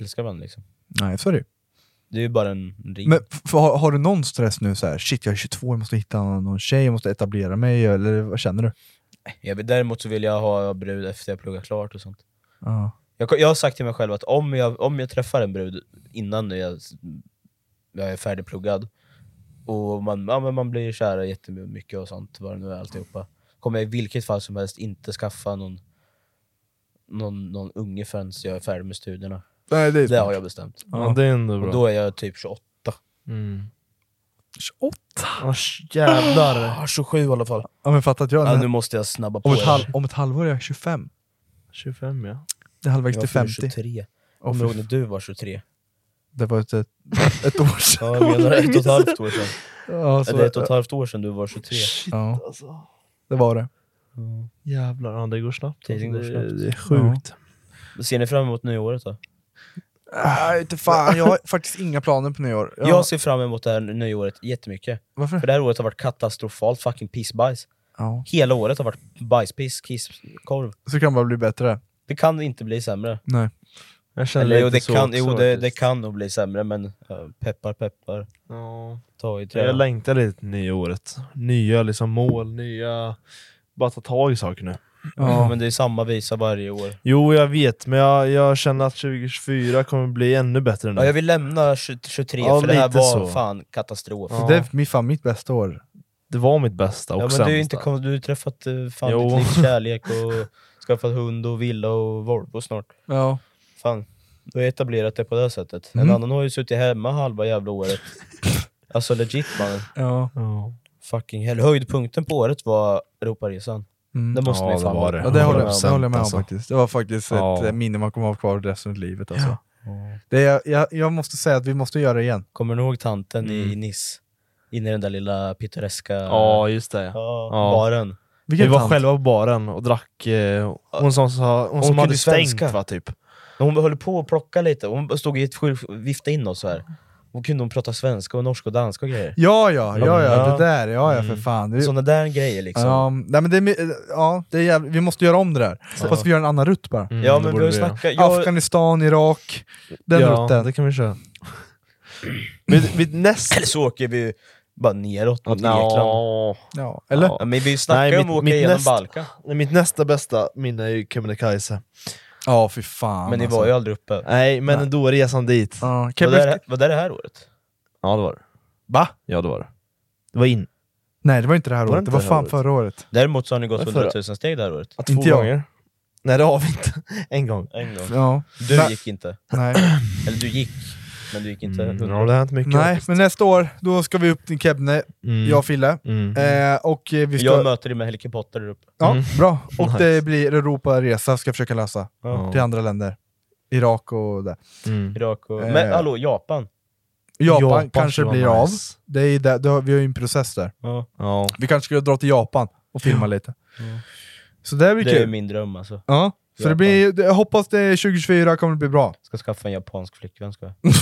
Speaker 1: älskar varandra. Liksom.
Speaker 2: Nej, sorry.
Speaker 1: Det är ju bara en ring.
Speaker 2: Men f- f- har, har du någon stress nu så här? shit jag är 22, jag måste hitta någon, någon tjej, jag måste etablera mig, eller vad känner du?
Speaker 1: Jag, vill- däremot så vill jag ha brud efter jag pluggat klart och sånt.
Speaker 2: Ja.
Speaker 1: Jag, ko- jag har sagt till mig själv att om jag, om jag träffar en brud innan jag, jag är färdigpluggad, och man, ja, men man blir kär jättemycket och sånt, vad det nu är alltihopa, kommer jag i vilket fall som helst inte skaffa någon, någon, någon unge förrän jag är färdig med studierna.
Speaker 2: Nej,
Speaker 1: Det har jag bestämt.
Speaker 3: Ja, det är ändå bra.
Speaker 1: Och då är jag typ 28.
Speaker 3: Mm.
Speaker 2: 28!
Speaker 3: Oh, jävlar.
Speaker 1: Ah, 27 i alla fall.
Speaker 2: Ja men fattat, jag,
Speaker 1: Ja, nu måste jag snabba på.
Speaker 2: om, ett
Speaker 1: det.
Speaker 2: halv, om ett halvår är jag 25.
Speaker 3: 25 ja.
Speaker 2: Det är halvvägs
Speaker 1: jag
Speaker 2: till
Speaker 1: fyller
Speaker 2: 50.
Speaker 1: 23.
Speaker 2: Åh,
Speaker 1: Kommer
Speaker 2: fy
Speaker 1: du ihåg när du var 23?
Speaker 2: Det var ett, ett, ett år sedan.
Speaker 1: Ja, jag menar ett och ett halvt år sedan.
Speaker 2: Ja,
Speaker 1: Ja,
Speaker 2: så,
Speaker 1: det är ett och ett halvt år sedan du var 23.
Speaker 3: Shit
Speaker 2: Ja.
Speaker 3: alltså.
Speaker 2: det var det.
Speaker 3: Jävlar, ja, det går snabbt.
Speaker 1: Tiden
Speaker 3: alltså.
Speaker 1: går
Speaker 3: det,
Speaker 1: snabbt.
Speaker 3: det är sjukt.
Speaker 1: Ser ni fram emot nyåret då?
Speaker 2: Nej, inte fan. Jag har faktiskt inga planer på nyår. Jag,
Speaker 1: Jag ser fram emot det här nyåret jättemycket. För
Speaker 2: varför?
Speaker 1: det här året har varit katastrofalt fucking pissbajs.
Speaker 2: Ja.
Speaker 1: Hela året har varit bajspiss, kisskorv.
Speaker 2: Så kan det bara bli bättre.
Speaker 1: Det kan inte bli sämre.
Speaker 2: Nej.
Speaker 3: Jag känner
Speaker 1: Eller, jo,
Speaker 3: lite
Speaker 1: det,
Speaker 3: så
Speaker 1: kan,
Speaker 3: också,
Speaker 1: jo det, det
Speaker 3: faktiskt.
Speaker 1: kan nog bli sämre, men ja, peppar peppar.
Speaker 3: Ja.
Speaker 1: Ta i trä.
Speaker 3: Jag längtar lite till nya året. Nya liksom mål, nya... Bara ta tag i saker nu.
Speaker 1: Ja. Men det är samma visa varje år.
Speaker 3: Jo, jag vet, men jag, jag känner att 2024 kommer bli ännu bättre nu.
Speaker 1: Ja, jag vill lämna 20- 23,
Speaker 3: Ja,
Speaker 1: för det här
Speaker 3: lite
Speaker 1: var
Speaker 3: så.
Speaker 1: fan katastrof.
Speaker 3: Ja.
Speaker 2: Det är mitt, fan, mitt bästa år.
Speaker 3: Det var mitt bästa och
Speaker 1: Ja, men du,
Speaker 3: sämsta.
Speaker 1: är inte, kom- du har träffat eh, fan
Speaker 3: Jo.
Speaker 1: ditt livs kärlek och skaffat hund och villa och Volvo snart.
Speaker 2: Ja.
Speaker 1: Fan, du har etablerat det på det sättet.
Speaker 2: Mm.
Speaker 1: En annan har ju suttit hemma halva jävla året. alltså legit mannen.
Speaker 2: ja.
Speaker 3: Ja.
Speaker 1: Fucking hell. Höjdpunkten på året var Europaresan.
Speaker 2: Mm.
Speaker 1: Det måste
Speaker 3: Ja,
Speaker 1: vi fan
Speaker 3: det var det.
Speaker 2: Ja, det håller jag, med om.
Speaker 3: Procent,
Speaker 2: det håller jag med om
Speaker 3: alltså.
Speaker 2: faktiskt. Det var faktiskt ett
Speaker 3: Ja.
Speaker 2: eh, minne man kommer ha kvar resten av livet. Alltså. Det, är- jag, jag måste säga att vi måste göra det igen.
Speaker 1: Kommer ni ihåg tanten i
Speaker 3: Mm.
Speaker 1: Nice? Inne i den där lilla pittoreska
Speaker 3: ja, just det. Ja.
Speaker 1: ja,
Speaker 3: Ja.
Speaker 1: baren.
Speaker 3: Vi var
Speaker 2: tant?
Speaker 3: själva på baren och drack... Eh, hon som, sa, hon som
Speaker 1: kunde
Speaker 3: hade stängt
Speaker 1: svenska.
Speaker 3: va, typ.
Speaker 1: Men Hon höll på att plocka lite, hon stod i ett skylf och viftade in oss så här. Och kunde hon prata svenska och norska och danska och grejer.
Speaker 2: Ja, ja, ja, ja,
Speaker 1: Ja.
Speaker 2: det där. Ja, ja, för
Speaker 3: Mm.
Speaker 2: fan. Det,
Speaker 1: Sådana där grejer liksom.
Speaker 2: ja, nej, men det, är mi- eh, ja, det är jävligt, vi måste göra om det där.
Speaker 3: Ja.
Speaker 2: Fast vi gör en annan rutt bara.
Speaker 3: Mm,
Speaker 1: Ja
Speaker 3: det
Speaker 1: men vi
Speaker 3: borde
Speaker 1: har ju
Speaker 3: göra.
Speaker 1: snackat, jag,
Speaker 2: Afghanistan, Irak, den
Speaker 3: ja,
Speaker 2: rutten.
Speaker 3: det kan vi köra. vid, vid näst...
Speaker 1: eller så åker vi bara neråt mot Grekland.
Speaker 3: Nå.
Speaker 2: Ja, eller?
Speaker 1: Ja, men vi snackar ju
Speaker 3: Nej,
Speaker 1: om att
Speaker 3: mitt-
Speaker 1: åka
Speaker 3: mitt
Speaker 1: igenom
Speaker 3: nästa-
Speaker 1: Balkan.
Speaker 3: Nej, Mitt nästa bästa minne är ju Kebnekaise.
Speaker 2: Ja, fy fan.
Speaker 1: Men ni
Speaker 2: alltså.
Speaker 1: var ju aldrig uppe.
Speaker 3: Nej, men
Speaker 2: Nej.
Speaker 3: ändå resan dit.
Speaker 2: Ja,
Speaker 1: Var
Speaker 2: Quebec...
Speaker 1: det, var det det här året?
Speaker 3: Ja, det var det.
Speaker 2: Va?
Speaker 3: Ja, det var det. Det var in.
Speaker 2: Nej, det var inte det här
Speaker 3: Var det
Speaker 2: året. Det
Speaker 3: inte
Speaker 2: var
Speaker 3: det här
Speaker 2: fan
Speaker 3: året?
Speaker 2: förra året.
Speaker 1: Däremot så har ni gått
Speaker 3: Varför då?
Speaker 1: 100 000 steg det här året.
Speaker 3: Två
Speaker 2: Inte jag.
Speaker 3: gånger. Nej, det har vi inte. En gång.
Speaker 1: En gång.
Speaker 2: Ja.
Speaker 1: Du
Speaker 2: Nej.
Speaker 1: gick inte.
Speaker 2: Nej.
Speaker 1: Eller du gick. men du gick inte
Speaker 3: Mm,
Speaker 1: hundra.
Speaker 3: ja, det har hänt mycket.
Speaker 2: Nej, men nästa år, då ska vi upp till Kebne,
Speaker 3: Mm.
Speaker 2: jag och Fille.
Speaker 3: Mm.
Speaker 2: Eh, och eh, vi ska...
Speaker 1: Jag möter dig med helikopter där uppe.
Speaker 2: Ja,
Speaker 3: Mm.
Speaker 2: bra. Och
Speaker 3: Nice.
Speaker 2: det blir Europaresa ska jag försöka lösa.
Speaker 1: Ja.
Speaker 2: Till andra länder. Irak och där.
Speaker 3: Mm.
Speaker 1: Irak och...
Speaker 2: Eh.
Speaker 1: Men hallå, Japan?
Speaker 2: Japan,
Speaker 3: Japan
Speaker 2: kanske
Speaker 3: skulle
Speaker 2: blir
Speaker 3: vara
Speaker 2: av.
Speaker 3: nice.
Speaker 2: Det är ju där, det har, vi har ju en process där.
Speaker 1: Ja.
Speaker 3: Ja.
Speaker 2: Vi kanske skulle dra till Japan och filma lite.
Speaker 1: Ja.
Speaker 2: Så det blir
Speaker 1: Det är
Speaker 2: kul.
Speaker 1: min dröm alltså.
Speaker 2: Ja. Så det
Speaker 1: Japan.
Speaker 2: blir, jag hoppas det 2024 kommer att bli bra.
Speaker 1: Ska skaffa en japansk flickvän ska jag.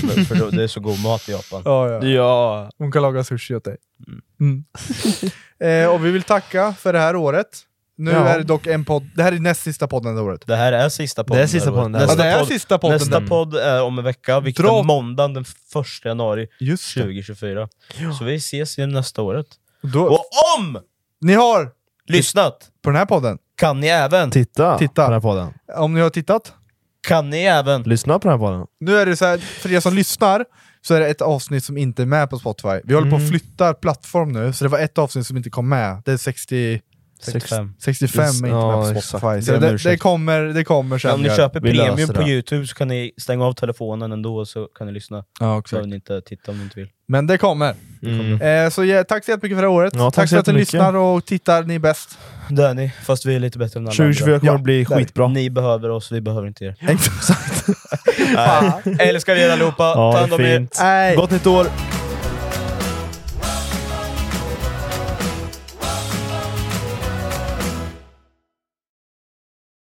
Speaker 1: för, för då- det är så god mat i Japan.
Speaker 2: Ja, ja.
Speaker 3: Ja.
Speaker 2: Hon kan laga sushi åt dig. Mm. eh, och vi vill tacka för det här året. Nu
Speaker 3: Ja.
Speaker 2: är det dock en podd, det här är näst sista podden det här året.
Speaker 1: Det här är sista podden.
Speaker 3: sista
Speaker 1: där, va?
Speaker 3: podden där.
Speaker 2: Ja,
Speaker 1: Nästa,
Speaker 2: det är
Speaker 1: podd,
Speaker 2: sista podden.
Speaker 1: nästa
Speaker 2: Mm.
Speaker 1: podd är om en vecka, vilket
Speaker 2: Dra-
Speaker 1: är måndagen den 1 januari
Speaker 2: Just det.
Speaker 1: 2024. Så vi ses igen nästa året.
Speaker 2: Då,
Speaker 1: Och om
Speaker 2: ni har,
Speaker 1: lyssnat
Speaker 2: på den här podden,
Speaker 1: kan ni även,
Speaker 3: Titta,
Speaker 2: Titta.
Speaker 3: på den här podden.
Speaker 2: om ni har tittat,
Speaker 1: kan ni även
Speaker 3: Lyssna på den här podden.
Speaker 2: Nu är det så här, för er som lyssnar, så är det ett avsnitt som inte är med på Spotify. Vi håller på
Speaker 3: Mm.
Speaker 2: att flytta plattform nu, så det var ett avsnitt som inte kom med. Det är 60,
Speaker 1: 65.
Speaker 2: 65
Speaker 3: Just-
Speaker 2: är inte
Speaker 3: ja,
Speaker 2: med på
Speaker 3: exakt.
Speaker 2: Spotify. Så
Speaker 3: Det är en
Speaker 2: det, det,
Speaker 3: ursäkt.
Speaker 2: kommer, det kommer sen.
Speaker 1: Om ni
Speaker 2: gör.
Speaker 1: köper
Speaker 3: Vi löser
Speaker 1: premium på
Speaker 3: det.
Speaker 1: youtube så kan ni stänga av telefonen ändå så kan ni lyssna.
Speaker 2: Ja,
Speaker 1: Så
Speaker 2: exakt.
Speaker 1: ni inte titta om ni inte vill.
Speaker 2: Men det kommer.
Speaker 3: Mm.
Speaker 2: Eh, så ja, tack så jättemycket för det här året.
Speaker 3: Ja, tack
Speaker 2: tack
Speaker 3: så
Speaker 2: för att ni
Speaker 3: jättemycket.
Speaker 2: lyssnar och tittar, ni är bäst.
Speaker 1: Det är ni, fast vi är lite bättre än alla
Speaker 3: 2024
Speaker 1: andra.
Speaker 3: kommer bli
Speaker 2: där.
Speaker 3: skitbra.
Speaker 1: Ni behöver oss, vi behöver inte er.
Speaker 2: Exakt.
Speaker 1: Älskar er allihopa, ta
Speaker 3: Ja,
Speaker 1: hand
Speaker 3: det
Speaker 1: om
Speaker 3: är
Speaker 1: er.
Speaker 3: fint.
Speaker 2: Nej.
Speaker 3: Gott nytt år!